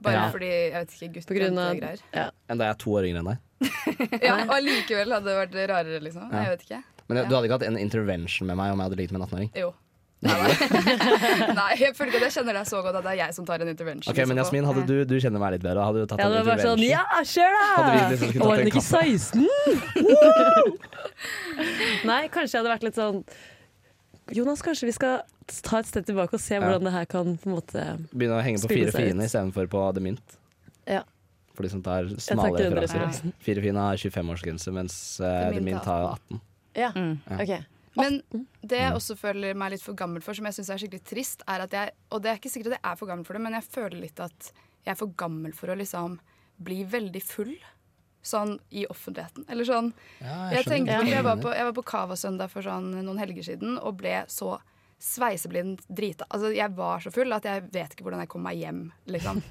Speaker 3: Bare
Speaker 2: Ja.
Speaker 3: fordi jeg vet ikke, gutt
Speaker 1: På grunn av
Speaker 3: jente greier.
Speaker 1: ja.
Speaker 2: er Enda jeg er to år yngre enn deg.
Speaker 3: Ja, og allikevel hadde det vært rarere, liksom. Jeg vet ikke.
Speaker 2: Men du hadde ikke hatt en intervention med meg om jeg hadde ligget med en 18-åring?
Speaker 3: Jo. Nei, Nei, jeg føler ikke at jeg kjenner deg så godt at det er jeg som tar en intervention.
Speaker 2: Ok, Men
Speaker 3: etterpå.
Speaker 2: Jasmin, hadde du, du kjenner meg litt bedre. Hadde du tatt
Speaker 1: Ja,
Speaker 2: en
Speaker 1: det var bare sånn
Speaker 2: intervention?
Speaker 1: Ja, kjør,
Speaker 2: Hadde vi
Speaker 1: da!
Speaker 2: liksom skulle tatt
Speaker 1: Var
Speaker 2: en
Speaker 1: den ikke
Speaker 2: kaffe?
Speaker 1: 16? Nei, kanskje jeg hadde vært litt sånn Jonas, kanskje vi skal ta et steg tilbake og se hvordan det her kan på en måte
Speaker 2: Begynne å henge på
Speaker 1: Spille
Speaker 2: fire
Speaker 1: seg
Speaker 2: fine
Speaker 1: ut.
Speaker 2: istedenfor på The Mynt.
Speaker 1: Ja.
Speaker 2: For de som tar
Speaker 1: tar
Speaker 2: smale
Speaker 1: ikke den
Speaker 2: referanser.
Speaker 1: referansen.
Speaker 2: Fire fine har 25-årsgrense, mens eh,
Speaker 3: The
Speaker 2: The
Speaker 3: Mint
Speaker 2: Mynt har 18.
Speaker 1: Ja,
Speaker 4: Mm.
Speaker 1: OK.
Speaker 3: Men
Speaker 1: Mm.
Speaker 3: det jeg også føler meg litt for gammel for, som jeg syns er skikkelig trist, er at jeg Og det er ikke sikkert at jeg er for gammel for det, men jeg føler litt at jeg er for gammel for å liksom bli veldig full. Sånn i offentligheten. Eller sånn. Jeg, tenkte, på- jeg, var på, jeg var på Cava søndag for sånn noen helger siden og ble så sveiseblind drita. Altså, jeg var så full at jeg vet ikke hvordan jeg kom meg hjem, liksom.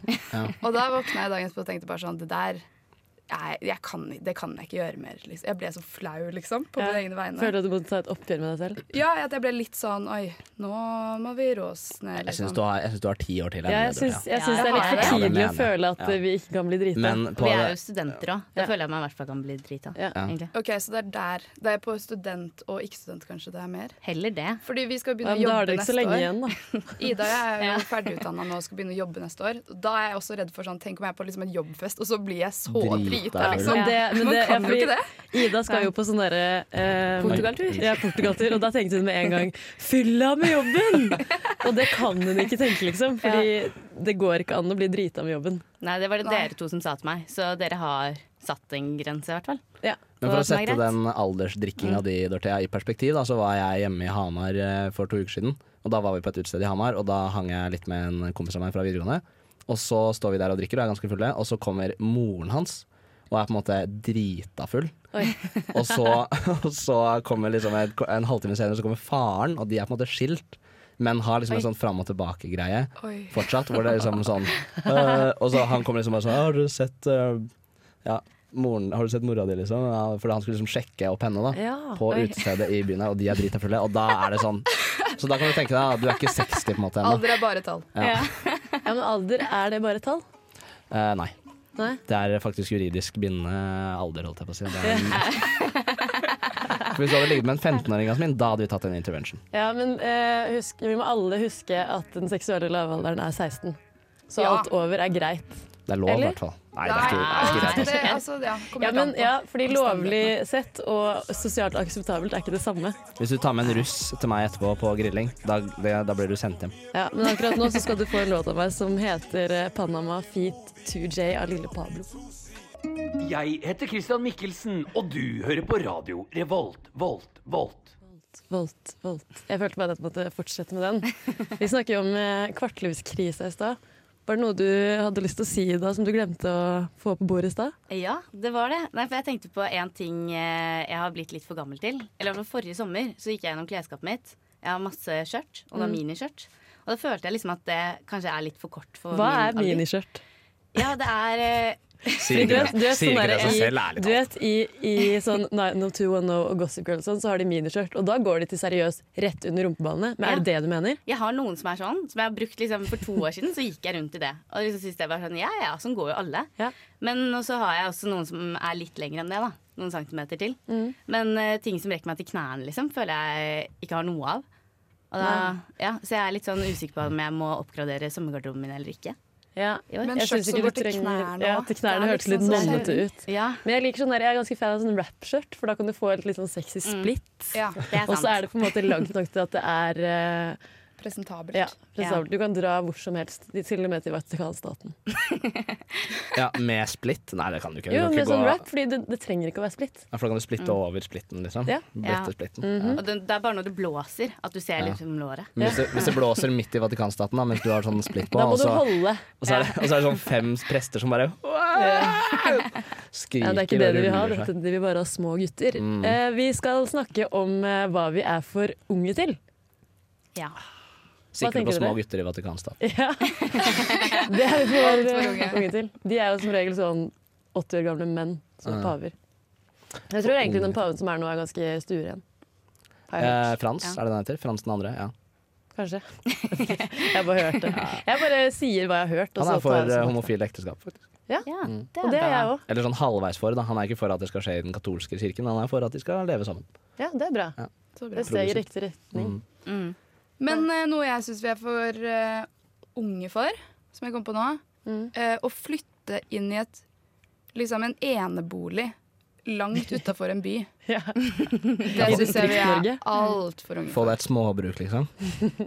Speaker 3: Og da våkna jeg dagen etterpå og tenkte bare sånn Det der jeg, jeg kan, det kan jeg ikke gjøre mer. Liksom. Jeg ble så flau, liksom, på mine egne vegne.
Speaker 1: Føler du at du må ta et oppgjør med deg selv?
Speaker 3: Ja, at jeg ble litt sånn Oi, nå må vi rås ned.
Speaker 2: Jeg syns
Speaker 3: liksom.
Speaker 2: du, har- jeg syns du har ti år til.
Speaker 1: Ja, jeg
Speaker 2: Dorte, ja.
Speaker 1: syns, jeg
Speaker 4: Ja,
Speaker 1: syns det er
Speaker 4: jeg
Speaker 1: litt
Speaker 4: har
Speaker 1: for
Speaker 2: det.
Speaker 1: tidlig å
Speaker 2: Ja, det mener jeg.
Speaker 1: føle at
Speaker 2: Ja.
Speaker 1: eh, vi ikke kan bli drita.
Speaker 2: Men på
Speaker 4: Vi er
Speaker 2: det,
Speaker 4: jo studenter òg. Da
Speaker 1: Ja.
Speaker 4: føler jeg meg i hvert fall kan bli drita.
Speaker 1: Ja.
Speaker 4: egentlig.
Speaker 3: Ok, Så det er der. Det er på student og ikke-student, kanskje. Det er mer.
Speaker 4: Heller det.
Speaker 3: Fordi vi
Speaker 1: Ja,
Speaker 3: skal begynne
Speaker 1: men da
Speaker 3: å
Speaker 1: har
Speaker 3: jobbe
Speaker 1: dere ikke så
Speaker 3: neste
Speaker 1: lenge
Speaker 3: år.
Speaker 1: igjen, da.
Speaker 3: Ida jeg er jo
Speaker 4: Ja.
Speaker 3: ferdigutdanna nå og skal begynne å jobbe neste år. Da er jeg også redd for sånn Tenk om jeg er på liksom en jobbfest, og så blir jeg så
Speaker 2: Drita
Speaker 3: drita,
Speaker 2: full.
Speaker 3: liksom.
Speaker 1: Men det, men
Speaker 3: Man
Speaker 1: det,
Speaker 3: kan jo
Speaker 1: fordi
Speaker 3: ikke det.
Speaker 1: Ida skal jo på sånn derre eh,
Speaker 4: Portugaltur.
Speaker 1: Ja, Portugaltur. Og da tenkte hun med en gang 'fylla med jobben'! Og det kan hun ikke tenke, liksom. Fordi det går ikke an å bli drita med jobben.
Speaker 4: Nei, det var det
Speaker 3: Nei.
Speaker 4: dere to som sa til meg, så dere har satt en grense, i hvert fall.
Speaker 1: Ja.
Speaker 2: men
Speaker 4: hva
Speaker 2: for å
Speaker 4: som er
Speaker 2: sette
Speaker 4: greit. Mm.
Speaker 2: den aldersdrikkinga di Dorthea, i perspektiv, da, så var jeg hjemme i Hamar eh, for to uker siden. Og Da var vi på et utested i Hamar, og da hang jeg litt med en kompis av meg fra videregående. Og så står vi der og drikker og er ganske fulle, og så kommer moren hans og er på en måte drita full.
Speaker 1: Oi.
Speaker 2: Og så, og så kommer liksom en, en halvtime senere så kommer faren, og de er på en måte skilt, men har liksom en sånn fram og tilbake-greie.
Speaker 3: Oi.
Speaker 2: fortsatt. Hvor det er liksom sånn øh, Og så han kommer liksom bare sånn «Å, Har du sett øh, Ja, moren Har du sett mora di, liksom? Ja, for han skulle liksom sjekke opp henne, da.
Speaker 1: Ja,
Speaker 2: på
Speaker 1: oi.
Speaker 2: utestedet i byen her, og de er drita fulle. Og da er det sånn. Så da kan du tenke deg at du er ikke 60 på en måte ennå.
Speaker 3: Alder er bare tall.
Speaker 1: ja men alder, er det bare tall?
Speaker 2: Eh, nei.
Speaker 1: Nei.
Speaker 2: Det er faktisk juridisk bindende alder, holdt jeg på å si. Det er en... For Hvis du hadde ligget med en 15-åring, Jasmin, da hadde vi tatt en intervention.
Speaker 1: Ja, men eh, husk, vi må alle huske at den seksuelle lavalderen er 16. Så
Speaker 3: Ja.
Speaker 1: alt over er greit.
Speaker 2: Det er lov, i
Speaker 1: Eller?
Speaker 2: hvert fall. Nei, det er ikke, det er ikke greit.
Speaker 3: Nei, det, altså, ja, kommer
Speaker 1: Ja,
Speaker 3: litt an
Speaker 1: men,
Speaker 3: på.
Speaker 1: ja, fordi lovlig sett og sosialt akseptabelt er ikke det samme.
Speaker 2: Hvis du tar med en russ til meg etterpå på grilling, da, det, da blir du sendt hjem.
Speaker 1: Ja, men akkurat nå så skal du få en låt av meg som heter eh, Panama Feet 2J av Lille Pablo.
Speaker 9: Jeg heter Christian Mikkelsen, og du hører på radio Revolt, Volt, Volt.
Speaker 1: Volt, volt. Jeg følte bare at jeg måtte fortsette med den. Vi snakker jo om eh, kvartlivskrisa i stad. Var det noe du hadde lyst til å si da, som du glemte å få på bordet i stad?
Speaker 4: Ja, det var det. Nei, for jeg tenkte på en ting eh, jeg har blitt litt for gammel til. Eller i hvert fall forrige sommer så gikk jeg gjennom klesskapet mitt. Jeg har masse skjørt, og da
Speaker 1: Mm.
Speaker 4: miniskjørt. Og da følte jeg liksom at det kanskje er litt for kort for
Speaker 1: Hva
Speaker 4: min
Speaker 1: er
Speaker 4: alder.
Speaker 1: miniskjørt?
Speaker 4: Ja, det er eh,
Speaker 2: Sier
Speaker 1: Du
Speaker 2: ikke
Speaker 1: vet, du
Speaker 2: det
Speaker 1: vet,
Speaker 2: Sier
Speaker 1: sånn
Speaker 2: ikke det
Speaker 1: der
Speaker 2: seg
Speaker 1: i-
Speaker 2: selv, ærlig
Speaker 1: du
Speaker 2: talt.
Speaker 1: vet i, i sånn 90210 og Gossip Girl og sånn, så har de miniskjørt. Og da går de til seriøst rett under rumpeballene. Men er det det du mener?
Speaker 4: Jeg har noen som er sånn, som jeg har brukt liksom for to år siden. Så gikk jeg rundt i det. Og liksom syntes jeg var sånn, ja ja, sånn går jo alle.
Speaker 1: Ja.
Speaker 4: Men så har jeg også noen som er litt lengre enn det, da. Noen centimeter til.
Speaker 1: Mm.
Speaker 4: Men eh, ting som rekker meg til knærne, liksom, føler jeg ikke har noe av. Og da, ja, så jeg er litt sånn usikker på om jeg må oppgradere sommergarderoben min eller ikke.
Speaker 1: Ja.
Speaker 4: i år.
Speaker 3: Men
Speaker 1: Jeg
Speaker 3: skjørt
Speaker 1: synes
Speaker 3: som
Speaker 1: ikke
Speaker 3: går
Speaker 1: du
Speaker 3: til
Speaker 1: trenger-
Speaker 3: knærne
Speaker 1: Ja,
Speaker 3: også.
Speaker 1: til
Speaker 3: Det er
Speaker 1: knærne hørtes litt
Speaker 3: liksom så
Speaker 1: nonnete
Speaker 3: sjelden.
Speaker 1: ut.
Speaker 4: Ja,
Speaker 1: Men jeg liker sånn der, jeg er ganske fan av sånn rap-skjørt, for da kan du få et litt sånn sexy splitt.
Speaker 3: Ja.
Speaker 4: Mm. det er
Speaker 1: Og så
Speaker 4: sant.
Speaker 1: er det på en måte langt nok til at det er eh,
Speaker 3: Presentabelt.
Speaker 1: Ja, for eksempel, Du kan dra hvor som helst, til og med til Vatikanstaten.
Speaker 2: Ja, med splitt? Nei, det kan du ikke.
Speaker 1: Jo,
Speaker 2: du kan
Speaker 1: med
Speaker 2: ikke
Speaker 1: sånn
Speaker 2: gå-
Speaker 1: rap, fordi det, det trenger ikke å være splitt.
Speaker 2: Ja, for da kan du splitte over splitten, liksom.
Speaker 1: Ja. Mhm.
Speaker 2: Bløtte
Speaker 4: Ja.
Speaker 2: splitten.
Speaker 1: Mm.
Speaker 4: Og det, det er bare når det blåser at du ser liksom låret.
Speaker 2: Men Hvis, det, hvis det blåser midt i Vatikanstaten, da, mens du har sånn splitt på,
Speaker 1: Da må
Speaker 2: og
Speaker 1: du
Speaker 2: så,
Speaker 1: holde.
Speaker 2: og, så er det, og så er det sånn fem prester som bare skriker
Speaker 1: Ja, det er ikke det
Speaker 2: og
Speaker 1: de vil ha,
Speaker 2: ruller
Speaker 1: vet
Speaker 2: seg. Mm.
Speaker 1: du. de vil bare ha små gutter. Eh, vi skal snakke om eh, hva vi er for unge til.
Speaker 4: Ja.
Speaker 1: Ah.
Speaker 2: Sikre
Speaker 1: tenker
Speaker 2: på små
Speaker 1: dere?
Speaker 2: gutter i Vatikanstaten.
Speaker 1: Ja. Det er vi for, eh, unge til. De er jo som regel sånn 80 år gamle menn som er
Speaker 2: Ah, Ja.
Speaker 1: paver. Jeg tror egentlig den paven som er nå, er ganske stueren. Har jeg
Speaker 2: Eh,
Speaker 1: hørt.
Speaker 2: Frans,
Speaker 4: Ja.
Speaker 2: er det den heter? Frans den andre? Ja.
Speaker 1: Kanskje. Jeg bare hørte det. Jeg bare sier hva jeg har hørt. og
Speaker 2: Han
Speaker 1: så tar jeg
Speaker 2: er for
Speaker 1: det som
Speaker 2: eh,
Speaker 1: fakta.
Speaker 2: homofile ekteskap, faktisk.
Speaker 4: Ja, det
Speaker 1: Og det er jeg òg.
Speaker 2: Eller sånn halvveis for. da Han er ikke for at det skal skje i den katolske kirken, han er for at de skal leve sammen.
Speaker 1: Ja, det er bra.
Speaker 2: Ja.
Speaker 3: Så bra.
Speaker 1: Det steg i riktig retning.
Speaker 2: Mm.
Speaker 4: Mm.
Speaker 3: Men eh, noe jeg syns vi er for eh, unge for, som jeg kom på nå,
Speaker 1: Mm.
Speaker 3: eh, å flytte inn i et liksom en enebolig langt utafor en by.
Speaker 1: Ja.
Speaker 3: Det
Speaker 1: I
Speaker 3: syns jeg vi er
Speaker 1: Distrikts-Norge.
Speaker 3: altfor unge
Speaker 2: Få
Speaker 3: for.
Speaker 2: deg et småbruk, liksom.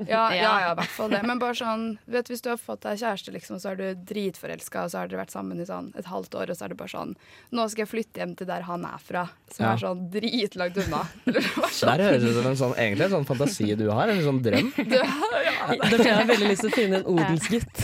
Speaker 3: Ja, ja, ja, i hvert fall det. Men bare sånn, du vet, hvis du har fått deg kjæreste, liksom, så er du dritforelska, og så har dere vært sammen i sånn et halvt år, og så er det bare sånn Nå skal jeg flytte hjem til der han er fra, som
Speaker 2: Ja.
Speaker 3: er sånn dritlangt unna.
Speaker 2: Der høres det ut som en sånn, egentlig en sånn fantasi du har, en sånn drøm
Speaker 1: Dorthea har veldig lyst til å finne en odelsgutt.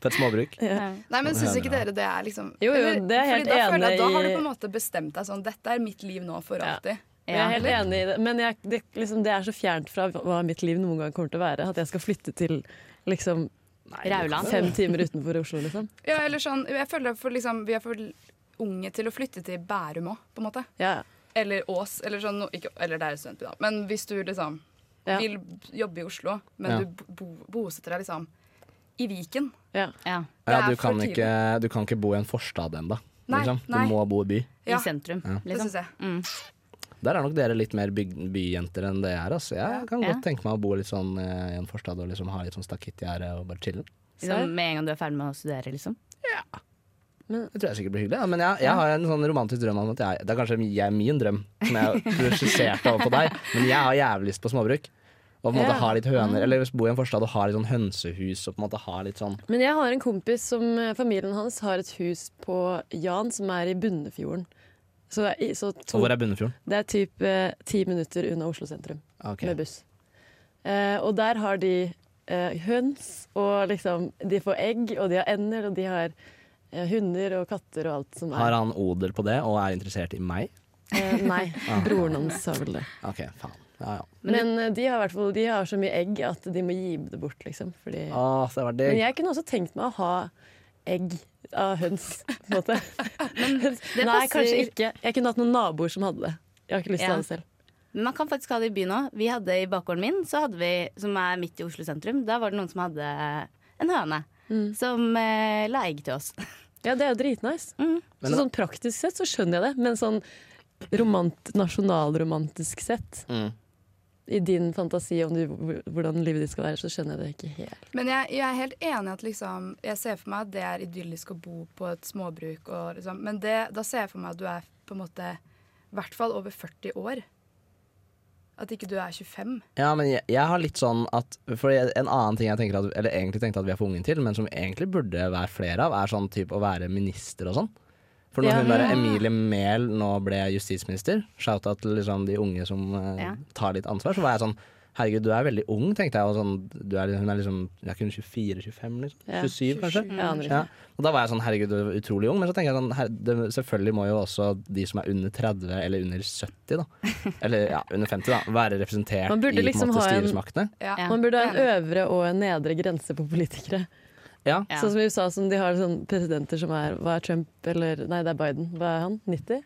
Speaker 2: på et småbruk.
Speaker 3: Nei, men syns
Speaker 2: hører
Speaker 3: ikke
Speaker 2: jeg.
Speaker 3: dere det er liksom
Speaker 1: Jo, jo,
Speaker 3: Eller-
Speaker 1: det er jeg helt
Speaker 3: fordi da føler jeg
Speaker 1: enig
Speaker 3: at Da har
Speaker 1: i-
Speaker 3: du på en måte bestemt deg sånn Dette er mitt liv nå for
Speaker 1: Ja.
Speaker 3: alltid.
Speaker 1: Jeg er helt
Speaker 4: Ja.
Speaker 1: enig i det, men jeg, det, liksom, det er så fjernt fra hva mitt liv noen gang kommer til å være. At jeg skal flytte til liksom,
Speaker 4: Rauland.
Speaker 1: fem timer utenfor Oslo, liksom.
Speaker 3: Ja, eller sånn Jeg føler for liksom Vi er for unge til å flytte til Bærum òg, på en måte.
Speaker 1: Ja,
Speaker 3: Eller Ås. Eller sånn no, ikke, Eller det er et studentby, da. Men hvis du liksom
Speaker 1: Ja.
Speaker 3: vil jobbe i Oslo, men
Speaker 2: Ja.
Speaker 3: du bo, bosetter deg liksom i Viken
Speaker 1: ja.
Speaker 4: Ja.
Speaker 3: Det
Speaker 2: Ja,
Speaker 3: er
Speaker 2: du
Speaker 3: for
Speaker 2: kan,
Speaker 3: tidlig.
Speaker 2: ikke, du kan ikke bo i en forstad ennå.
Speaker 3: Nei,
Speaker 2: Liksom. Du
Speaker 3: nei.
Speaker 2: må bo i by.
Speaker 3: Ja.
Speaker 4: I sentrum,
Speaker 3: Det
Speaker 4: liksom.
Speaker 3: syns jeg.
Speaker 2: Der er nok dere litt mer byg- byjenter enn det jeg er. Altså. Jeg kan
Speaker 4: Ja.
Speaker 2: godt tenke meg å bo litt sånn eh, i en forstad og liksom ha litt sånn stakittgjerde og bare chille.
Speaker 1: Så-
Speaker 4: Liksom, med en gang du er ferdig med å studere, liksom.
Speaker 2: Det tror jeg sikkert blir hyggelig. Ja. Men jeg, jeg har en sånn romantisk drøm om at jeg, det er kanskje jeg, min drøm, som jeg prosjiserte over på deg, men jeg har jævlig lyst på småbruk. Og på en måte
Speaker 1: Ja.
Speaker 2: ha litt høner, eller bo i en forstad og ha litt sånn hønsehus og på en måte ha litt sånn
Speaker 1: Men jeg har en kompis som eh, familien hans har et hus på Jan, som er i Bunnefjorden. Så, det er i- så
Speaker 2: Og
Speaker 1: to,
Speaker 2: hvor er Bunnefjorden?
Speaker 1: det er typ eh, ti minutter unna Oslo sentrum
Speaker 2: Ok.
Speaker 1: med buss. Eh, og der har de eh, høns, og liksom De får egg, og de har ender, og de har eh, hunder og katter og alt som er
Speaker 2: Har han odel på det og er interessert i meg?
Speaker 1: Eh, nei,
Speaker 2: Ah.
Speaker 1: broren hans har vel det.
Speaker 2: OK, faen. Ja, ja.
Speaker 1: Men eh, de har, i hvert fall- de har så mye egg at de må gi det bort, liksom. Fordi...
Speaker 2: Å, så det var
Speaker 1: Men
Speaker 2: digg.
Speaker 1: jeg kunne også tenkt meg å ha egg av høns, på en måte. nei,
Speaker 4: passer-
Speaker 1: kanskje ikke. Jeg kunne hatt noen naboer som hadde det. Jeg har ikke lyst til å
Speaker 4: Ja.
Speaker 1: ha det selv.
Speaker 4: Men man kan faktisk ha det i byen òg. Vi hadde i bakgården min, så hadde vi, som er midt i Oslo sentrum, da var det noen som hadde en høne. Som eh, la egg til oss.
Speaker 1: Ja, det er jo dritnice.
Speaker 4: Mm.
Speaker 2: Men
Speaker 1: Så sånn praktisk sett så skjønner jeg det, men sånn romant, nasjonalromantisk sett
Speaker 2: Mm.
Speaker 1: i din fantasi om du, hvordan livet ditt skal være, så skjønner jeg det ikke helt.
Speaker 3: Men jeg, jeg er helt enig i at liksom, jeg ser for meg at det er idyllisk å bo på et småbruk. Og, liksom, men det, da ser jeg for meg at du er på en måte i hvert fall over 40 år. At ikke du er 25.
Speaker 2: Ja, men jeg, jeg har litt sånn at For jeg- en annen ting jeg tenker at, eller egentlig tenkte at vi er for unge til, men som egentlig burde være flere av, er sånn type å være minister og sånn. For når
Speaker 1: Ja.
Speaker 2: hun der Emilie Mehl nå ble justisminister, shouta til liksom de unge som eh,
Speaker 4: Ja.
Speaker 2: tar litt ansvar, så var jeg sånn Herregud, du er veldig ung, tenkte jeg. Og sånn, du er, hun er liksom hun er ikke hun 24-25, liksom?
Speaker 1: Ja.
Speaker 2: 27, kanskje?
Speaker 1: Jeg aner ikke.
Speaker 2: Ja. Og da var jeg sånn, herregud, det var utrolig ung. Men så tenker jeg sånn, her, det, selvfølgelig må jo også de som er under 30 eller under 70, da. Eller ja, under 50, da. Være representert
Speaker 1: Man burde
Speaker 2: i
Speaker 1: liksom
Speaker 2: på en måte,
Speaker 1: ha en-
Speaker 2: styresmaktene.
Speaker 3: Ja.
Speaker 4: Ja.
Speaker 1: Man burde ha en øvre og en nedre grense på politikere.
Speaker 2: Ja.
Speaker 4: Ja.
Speaker 1: Sånn som i USA, som de har sånn presidenter som er Hva er Trump eller Nei, det er Biden. Hva er han? 90?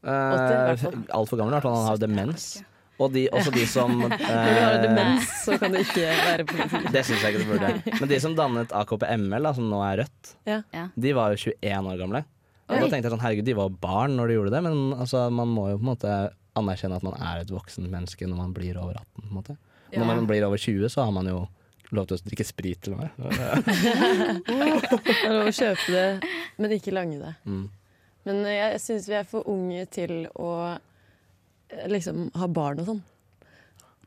Speaker 1: hvert
Speaker 2: Eh,
Speaker 1: fall.
Speaker 2: Altfor gammel, i hvert fall. Han har jo demens. Og de, også de som
Speaker 1: Når du har
Speaker 2: eh,
Speaker 1: demens, så kan du ikke være politiker.
Speaker 2: Det syns jeg ikke du burde. Men de som dannet AKP-ML, da, som nå er Rødt,
Speaker 1: Ja.
Speaker 4: Ja.
Speaker 2: de var jo 21 år gamle. Og da
Speaker 1: Oi.
Speaker 2: tenkte jeg sånn, herregud, de var barn når de gjorde det, men altså, man må jo på en måte anerkjenne at man er et voksent menneske når man blir over 18. på en måte. Når man blir over 20, så har man jo lov til å drikke sprit til meg.
Speaker 1: Det er lov å kjøpe det, men ikke lange det.
Speaker 2: Mm.
Speaker 1: Men eh, jeg syns vi er for unge til å eh, liksom ha barn og sånn.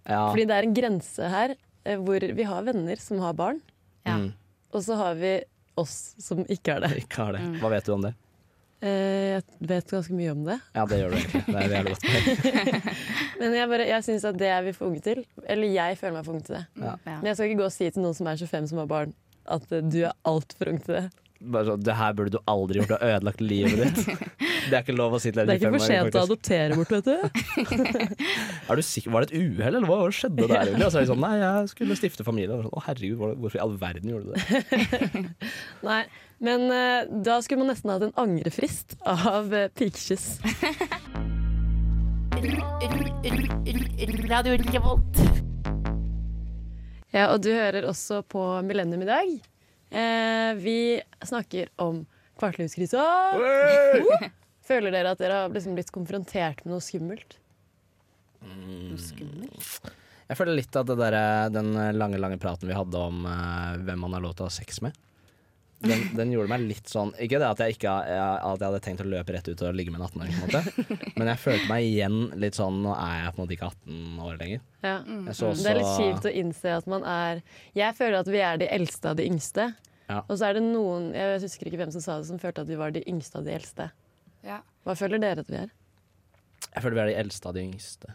Speaker 2: Ja,
Speaker 1: Fordi det er en grense her eh, hvor vi har venner som har barn,
Speaker 4: Ja.
Speaker 2: Mm.
Speaker 1: og så har vi oss som ikke har det.
Speaker 2: Ikke har
Speaker 1: Mm.
Speaker 2: det. Hva vet du om det?
Speaker 1: Eh, Jeg vet ganske mye om det.
Speaker 2: Ja, det gjør du egentlig. Det er et jævlig godt poeng.
Speaker 1: Men jeg, bare- jeg syns at det er vi for unge til. Eller jeg føler meg for ung til det.
Speaker 2: Ja.
Speaker 4: Mm. Ja.
Speaker 1: Men jeg skal ikke gå og si til noen som er 25 som har barn, at eh, du er altfor ung til det.
Speaker 2: Bare sånn, Det her burde du aldri gjort, du har ødelagt livet ditt. Det er ikke lov å si til
Speaker 1: Det er ikke
Speaker 2: fem
Speaker 1: for sent å adoptere bort, vet du.
Speaker 2: Er du sikker? Var det et uhell, eller hva Hva skjedde der? egentlig? Og så er de sånn, nei, jeg skulle stifte familie. Og sånn, å herregud, hvor- hvorfor i all verden gjorde du det?
Speaker 1: Nei, men eh, da skulle man nesten hatt en angrefrist av uh, pikekyss.
Speaker 7: Radio Revolt.
Speaker 1: Ja, og du hører også på Millennium i dag. Eh, vi snakker om kvartlivskrisa. Føler dere at dere har liksom blitt konfrontert med noe skummelt?
Speaker 4: Mm.
Speaker 2: Jeg føler litt at det der, eh, den lange, lange praten vi hadde om eh, hvem man har lov til å ha sex med, den, den gjorde meg litt sånn Ikke det at jeg, ikke, jeg, at jeg hadde tenkt å løpe rett ut og ligge med en 18-åring, på en måte, men jeg følte meg igjen litt sånn Nå er jeg på en måte ikke 18 år lenger.
Speaker 1: Ja.
Speaker 2: Jeg så også,
Speaker 1: Mm, Det er litt kjipt å innse at man er Jeg føler at vi er de eldste av de yngste.
Speaker 2: Ja.
Speaker 1: Og så er det noen, jeg husker ikke hvem som sa det, som følte at vi var de yngste av de eldste.
Speaker 3: Ja.
Speaker 1: Hva føler dere at vi er?
Speaker 2: Jeg føler vi er de eldste av de yngste.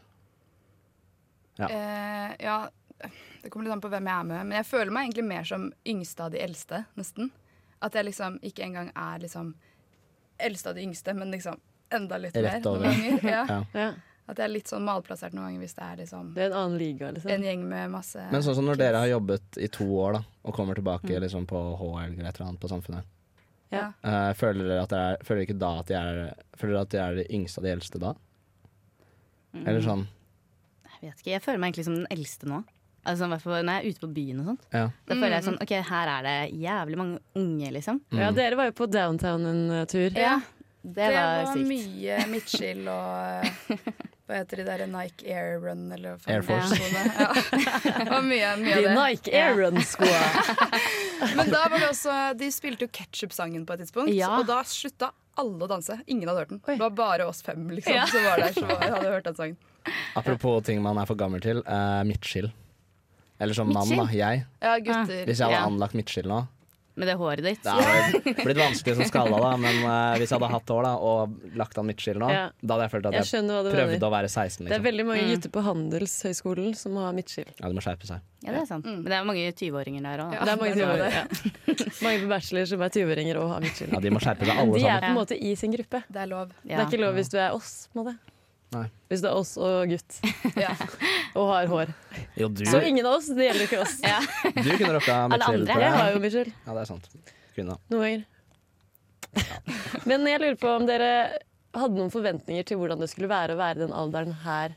Speaker 3: Eh, ja, det kommer litt an på hvem jeg er med, men jeg føler meg egentlig mer som yngste av de eldste, nesten. At jeg liksom ikke engang er liksom eldste av de yngste, men liksom enda litt
Speaker 2: Rett
Speaker 3: mer.
Speaker 2: over.
Speaker 3: noen ganger. Ja.
Speaker 2: Ja.
Speaker 1: Ja.
Speaker 3: At jeg er litt sånn malplassert noen ganger hvis det er liksom
Speaker 1: Det er en annen liga, liksom.
Speaker 3: en gjeng med masse
Speaker 2: Men sånn som når dere har jobbet i to år da, og kommer tilbake
Speaker 1: Mm.
Speaker 2: liksom, på HR eller et eller annet på samfunnet,
Speaker 3: Ja.
Speaker 2: eh, føler dere at det er, føler dere ikke da at de er, føler dere at de er de yngste av de eldste da?
Speaker 1: Mm.
Speaker 2: Eller sånn,
Speaker 4: Jeg vet ikke, jeg føler meg egentlig som den eldste nå. Altså, i hvert fall når jeg er ute på byen og sånt.
Speaker 2: ja.
Speaker 4: Da føler jeg sånn, ok, her er det jævlig mange unge, liksom.
Speaker 1: Ja, dere var jo på downtown en eh, tur.
Speaker 3: Ja,
Speaker 4: Det var sykt.
Speaker 3: mye midtskill og hva heter de der Nike Air Run eller hva
Speaker 2: Air
Speaker 3: faen
Speaker 4: Force.
Speaker 3: det er for noe? Ja. Det var mye,
Speaker 1: De
Speaker 3: mye av det.
Speaker 1: Nike Air Run-skoa.
Speaker 3: Men da var det også De spilte jo ketchup-sangen på et tidspunkt,
Speaker 4: Ja.
Speaker 3: og da slutta alle å danse. Ingen hadde hørt den.
Speaker 1: Oi.
Speaker 3: Det var bare oss fem liksom, som var der som hadde hørt den sangen.
Speaker 2: Apropos ting man er for gammel til, eh, midtskill. Eller som mann da,
Speaker 4: Midtskill?
Speaker 2: jeg.
Speaker 3: Ja, gutter.
Speaker 2: Hvis jeg hadde
Speaker 4: Ja.
Speaker 2: anlagt midtskill nå,
Speaker 4: Med det håret ditt.
Speaker 2: det hadde blitt vanskelig som skalla da, men eh, hvis jeg hadde hatt hår da, og lagt an midtskill nå,
Speaker 1: Ja.
Speaker 2: da hadde jeg følt at
Speaker 1: Jeg
Speaker 2: jeg,
Speaker 1: skjønner hva du
Speaker 2: prøvde
Speaker 1: mener.
Speaker 2: å være
Speaker 1: Det er
Speaker 2: 16 liksom.
Speaker 1: veldig mange
Speaker 3: Mm.
Speaker 1: gutter på Handelshøyskolen som har midtskill.
Speaker 2: Ja, du må skjerpe seg.
Speaker 4: Ja, det er sant. Men det er mange 20-åringer der òg.
Speaker 3: Ja.
Speaker 1: det er mange,
Speaker 3: det er
Speaker 1: som har det. Ja. mange på bachelor som er 20-åringer og har midtskill.
Speaker 2: Ja, de må skjerpe seg alle
Speaker 1: De er
Speaker 2: sammen.
Speaker 1: på en måte i sin gruppe.
Speaker 3: Det er lov.
Speaker 1: Det er ikke lov hvis du er oss. på en måte.
Speaker 2: Nei.
Speaker 1: Hvis du er oss og gutt
Speaker 3: Ja.
Speaker 1: og har hår.
Speaker 2: Jo, du,
Speaker 1: Så ingen av oss. Det gjelder ikke oss.
Speaker 2: du kunne rocka midtskill.
Speaker 4: andre
Speaker 2: tror
Speaker 1: Jeg
Speaker 2: jeg.
Speaker 1: har jo midtskill
Speaker 2: Ja, det er sant. Kunne.
Speaker 1: noen ganger. Men jeg lurer på om dere hadde noen forventninger til hvordan det skulle være å være den alderen her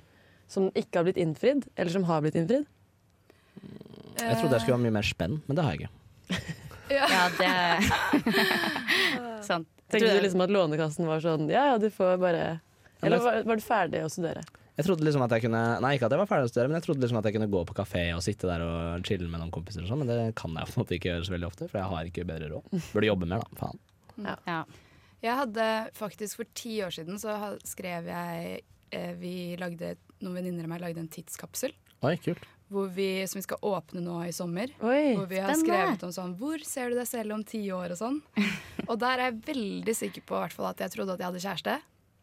Speaker 1: som ikke har blitt innfridd, eller som har blitt innfridd.
Speaker 2: Jeg
Speaker 3: Eh,
Speaker 2: trodde jeg skulle ha mye mer spenn, men det har jeg ikke.
Speaker 4: Ja, det Sant. Jeg
Speaker 1: Tenkte
Speaker 4: tror
Speaker 1: du liksom at Lånekassen var sånn ja ja, du får bare Eller var, var du ferdig å studere?
Speaker 2: Jeg trodde liksom at jeg kunne Nei, ikke at jeg var ferdig å studere, men jeg trodde liksom at jeg kunne gå på kafé og sitte der og chille med noen kompiser og sånn, men det kan jeg på en måte ikke gjøre så veldig ofte, for jeg har ikke bedre råd. Burde jobbe mer, da. Faen.
Speaker 4: Ja.
Speaker 3: Jeg hadde faktisk for ti år siden så ha- skrev jeg eh, Vi lagde, noen venninner av meg lagde en tidskapsel
Speaker 2: Oi, kult.
Speaker 3: hvor vi, som vi skal åpne nå i sommer.
Speaker 1: Oi.
Speaker 3: Hvor vi har
Speaker 4: Spennende.
Speaker 3: skrevet om sånn Hvor ser du deg selv om ti år og sånn. Og der er jeg veldig sikker på i hvert fall, at jeg trodde at jeg hadde kjæreste.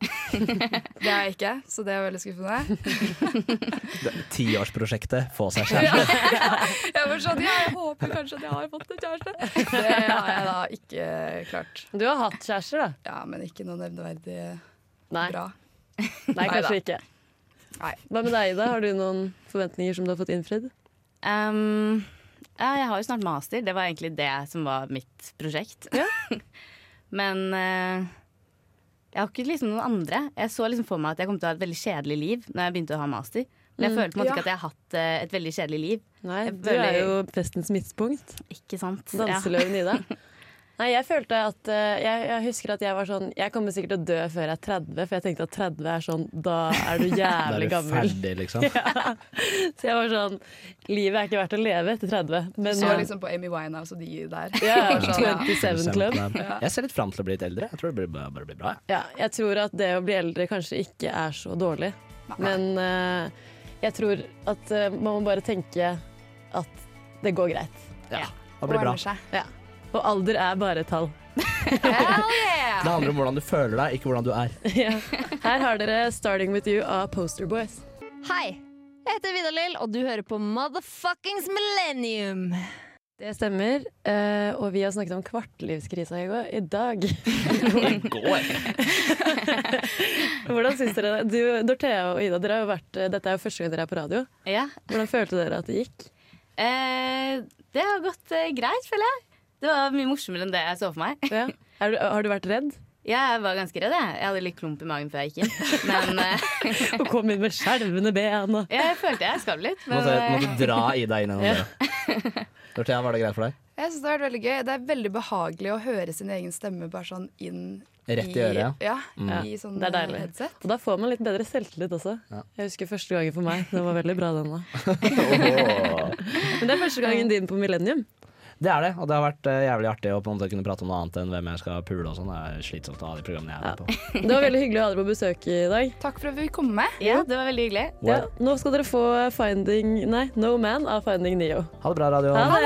Speaker 3: Det har jeg ikke, så det er veldig skuffende.
Speaker 2: Det- Tiårsprosjektet få seg kjæreste.
Speaker 3: Jeg var sånn, ja, jeg håper kanskje at jeg har fått en kjæreste. Det har jeg da ikke klart.
Speaker 1: Du har hatt kjærester, da?
Speaker 3: Ja, men ikke noe nevneverdig
Speaker 1: Nei,
Speaker 3: bra.
Speaker 1: Nei kanskje
Speaker 3: Neida.
Speaker 1: ikke.
Speaker 3: Nei.
Speaker 1: Hva med deg, Ida? Har du noen forventninger som du har fått innfridd?
Speaker 4: Um, ja, jeg har jo snart master. Det var egentlig det som var mitt prosjekt. Men eh, jeg har ikke liksom noen andre. Jeg så liksom for meg at jeg kom til å ha et veldig kjedelig liv når jeg begynte å ha master. Men jeg
Speaker 1: Mm,
Speaker 4: føler på en måte
Speaker 3: Ja.
Speaker 4: ikke at jeg har hatt eh, et veldig kjedelig liv.
Speaker 1: Nei,
Speaker 4: Jeg
Speaker 1: du er
Speaker 4: føler-
Speaker 1: jo festens midtpunkt.
Speaker 4: Ikke sant?
Speaker 1: Danseløven Ida. Nei, jeg følte at eh, jeg, jeg husker at jeg var sånn Jeg kommer sikkert til å dø før jeg er 30, for jeg tenkte at 30 er sånn Da er du
Speaker 2: Da er
Speaker 1: jævlig
Speaker 2: du
Speaker 1: gammel.
Speaker 2: ferdig, liksom.
Speaker 1: Så jeg var sånn Livet er ikke verdt å leve etter 30. Men
Speaker 3: Så
Speaker 1: ja,
Speaker 3: liksom på Amy Winehouse og de der.
Speaker 1: ja,
Speaker 3: Sånn, ja.
Speaker 1: 27 Club.
Speaker 2: Jeg ser litt fram til å bli litt eldre. Jeg tror det blir, bare bare blir bra. jeg.
Speaker 1: Ja, jeg tror at det å bli eldre kanskje ikke er så dårlig. Men eh, jeg tror at eh, man må bare tenke at det går greit.
Speaker 2: Det blir bra.
Speaker 3: ordner seg.
Speaker 1: Og alder er bare et tall.
Speaker 3: Hell yeah!
Speaker 2: Det handler om hvordan du føler deg, ikke hvordan du er.
Speaker 1: Ja. Her har dere 'Starting With You' av Poster Boys.
Speaker 10: Hei! Jeg heter Vidar-Lill, og du hører på Motherfuckings Millennium.
Speaker 1: Det stemmer. eh, og vi har snakket om kvartlivskrisa i går. I dag. Hvordan syns dere det? Du, Dorthea og Ida, dere har jo vært, eh, dette er jo første gang dere er på radio.
Speaker 4: Ja.
Speaker 1: Hvordan følte dere at det gikk?
Speaker 4: Eh, det har gått eh, greit, føler jeg. Det var mye morsommere enn det jeg så for meg.
Speaker 1: Ja. Er du, har du vært redd?
Speaker 4: Jeg var ganske redd, jeg. Jeg hadde litt klump i magen før jeg gikk inn. Men eh,
Speaker 1: Og kom inn med skjelvende ben og
Speaker 4: jeg følte jeg skalv litt. Men
Speaker 2: Måtte,
Speaker 4: eh,
Speaker 2: måtte dra i deg gjennom
Speaker 1: Ja.
Speaker 2: døra. Dorthea, var det greit for deg?
Speaker 3: Jeg synes Det har vært veldig gøy. Det er veldig behagelig å høre sin egen stemme bare sånn inn
Speaker 2: Rett i øret, Mm. ja.
Speaker 3: ja.
Speaker 1: Ja,
Speaker 3: i sånn
Speaker 1: det er deilig.
Speaker 3: headset.
Speaker 1: Og da får man litt bedre selvtillit også.
Speaker 2: Ja.
Speaker 1: Jeg husker første gangen for meg. Den var veldig bra, den da.
Speaker 2: Åh.
Speaker 1: Men det er første gangen din på Millennium.
Speaker 2: Det er det, og det har vært eh, jævlig artig å på en måte kunne prate om noe annet enn hvem jeg skal pule og sånn. Det er slitsomt å ha de programmene jeg er med på.
Speaker 1: Det var veldig hyggelig å ha dere på besøk i dag.
Speaker 3: Takk for at vi fikk komme.
Speaker 4: ja, det var veldig hyggelig.
Speaker 1: Ja,
Speaker 2: Wow.
Speaker 1: nå skal dere få Finding, nei, No Man av Finding Neo.
Speaker 2: Ha det bra, radio.
Speaker 1: Ha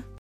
Speaker 1: det!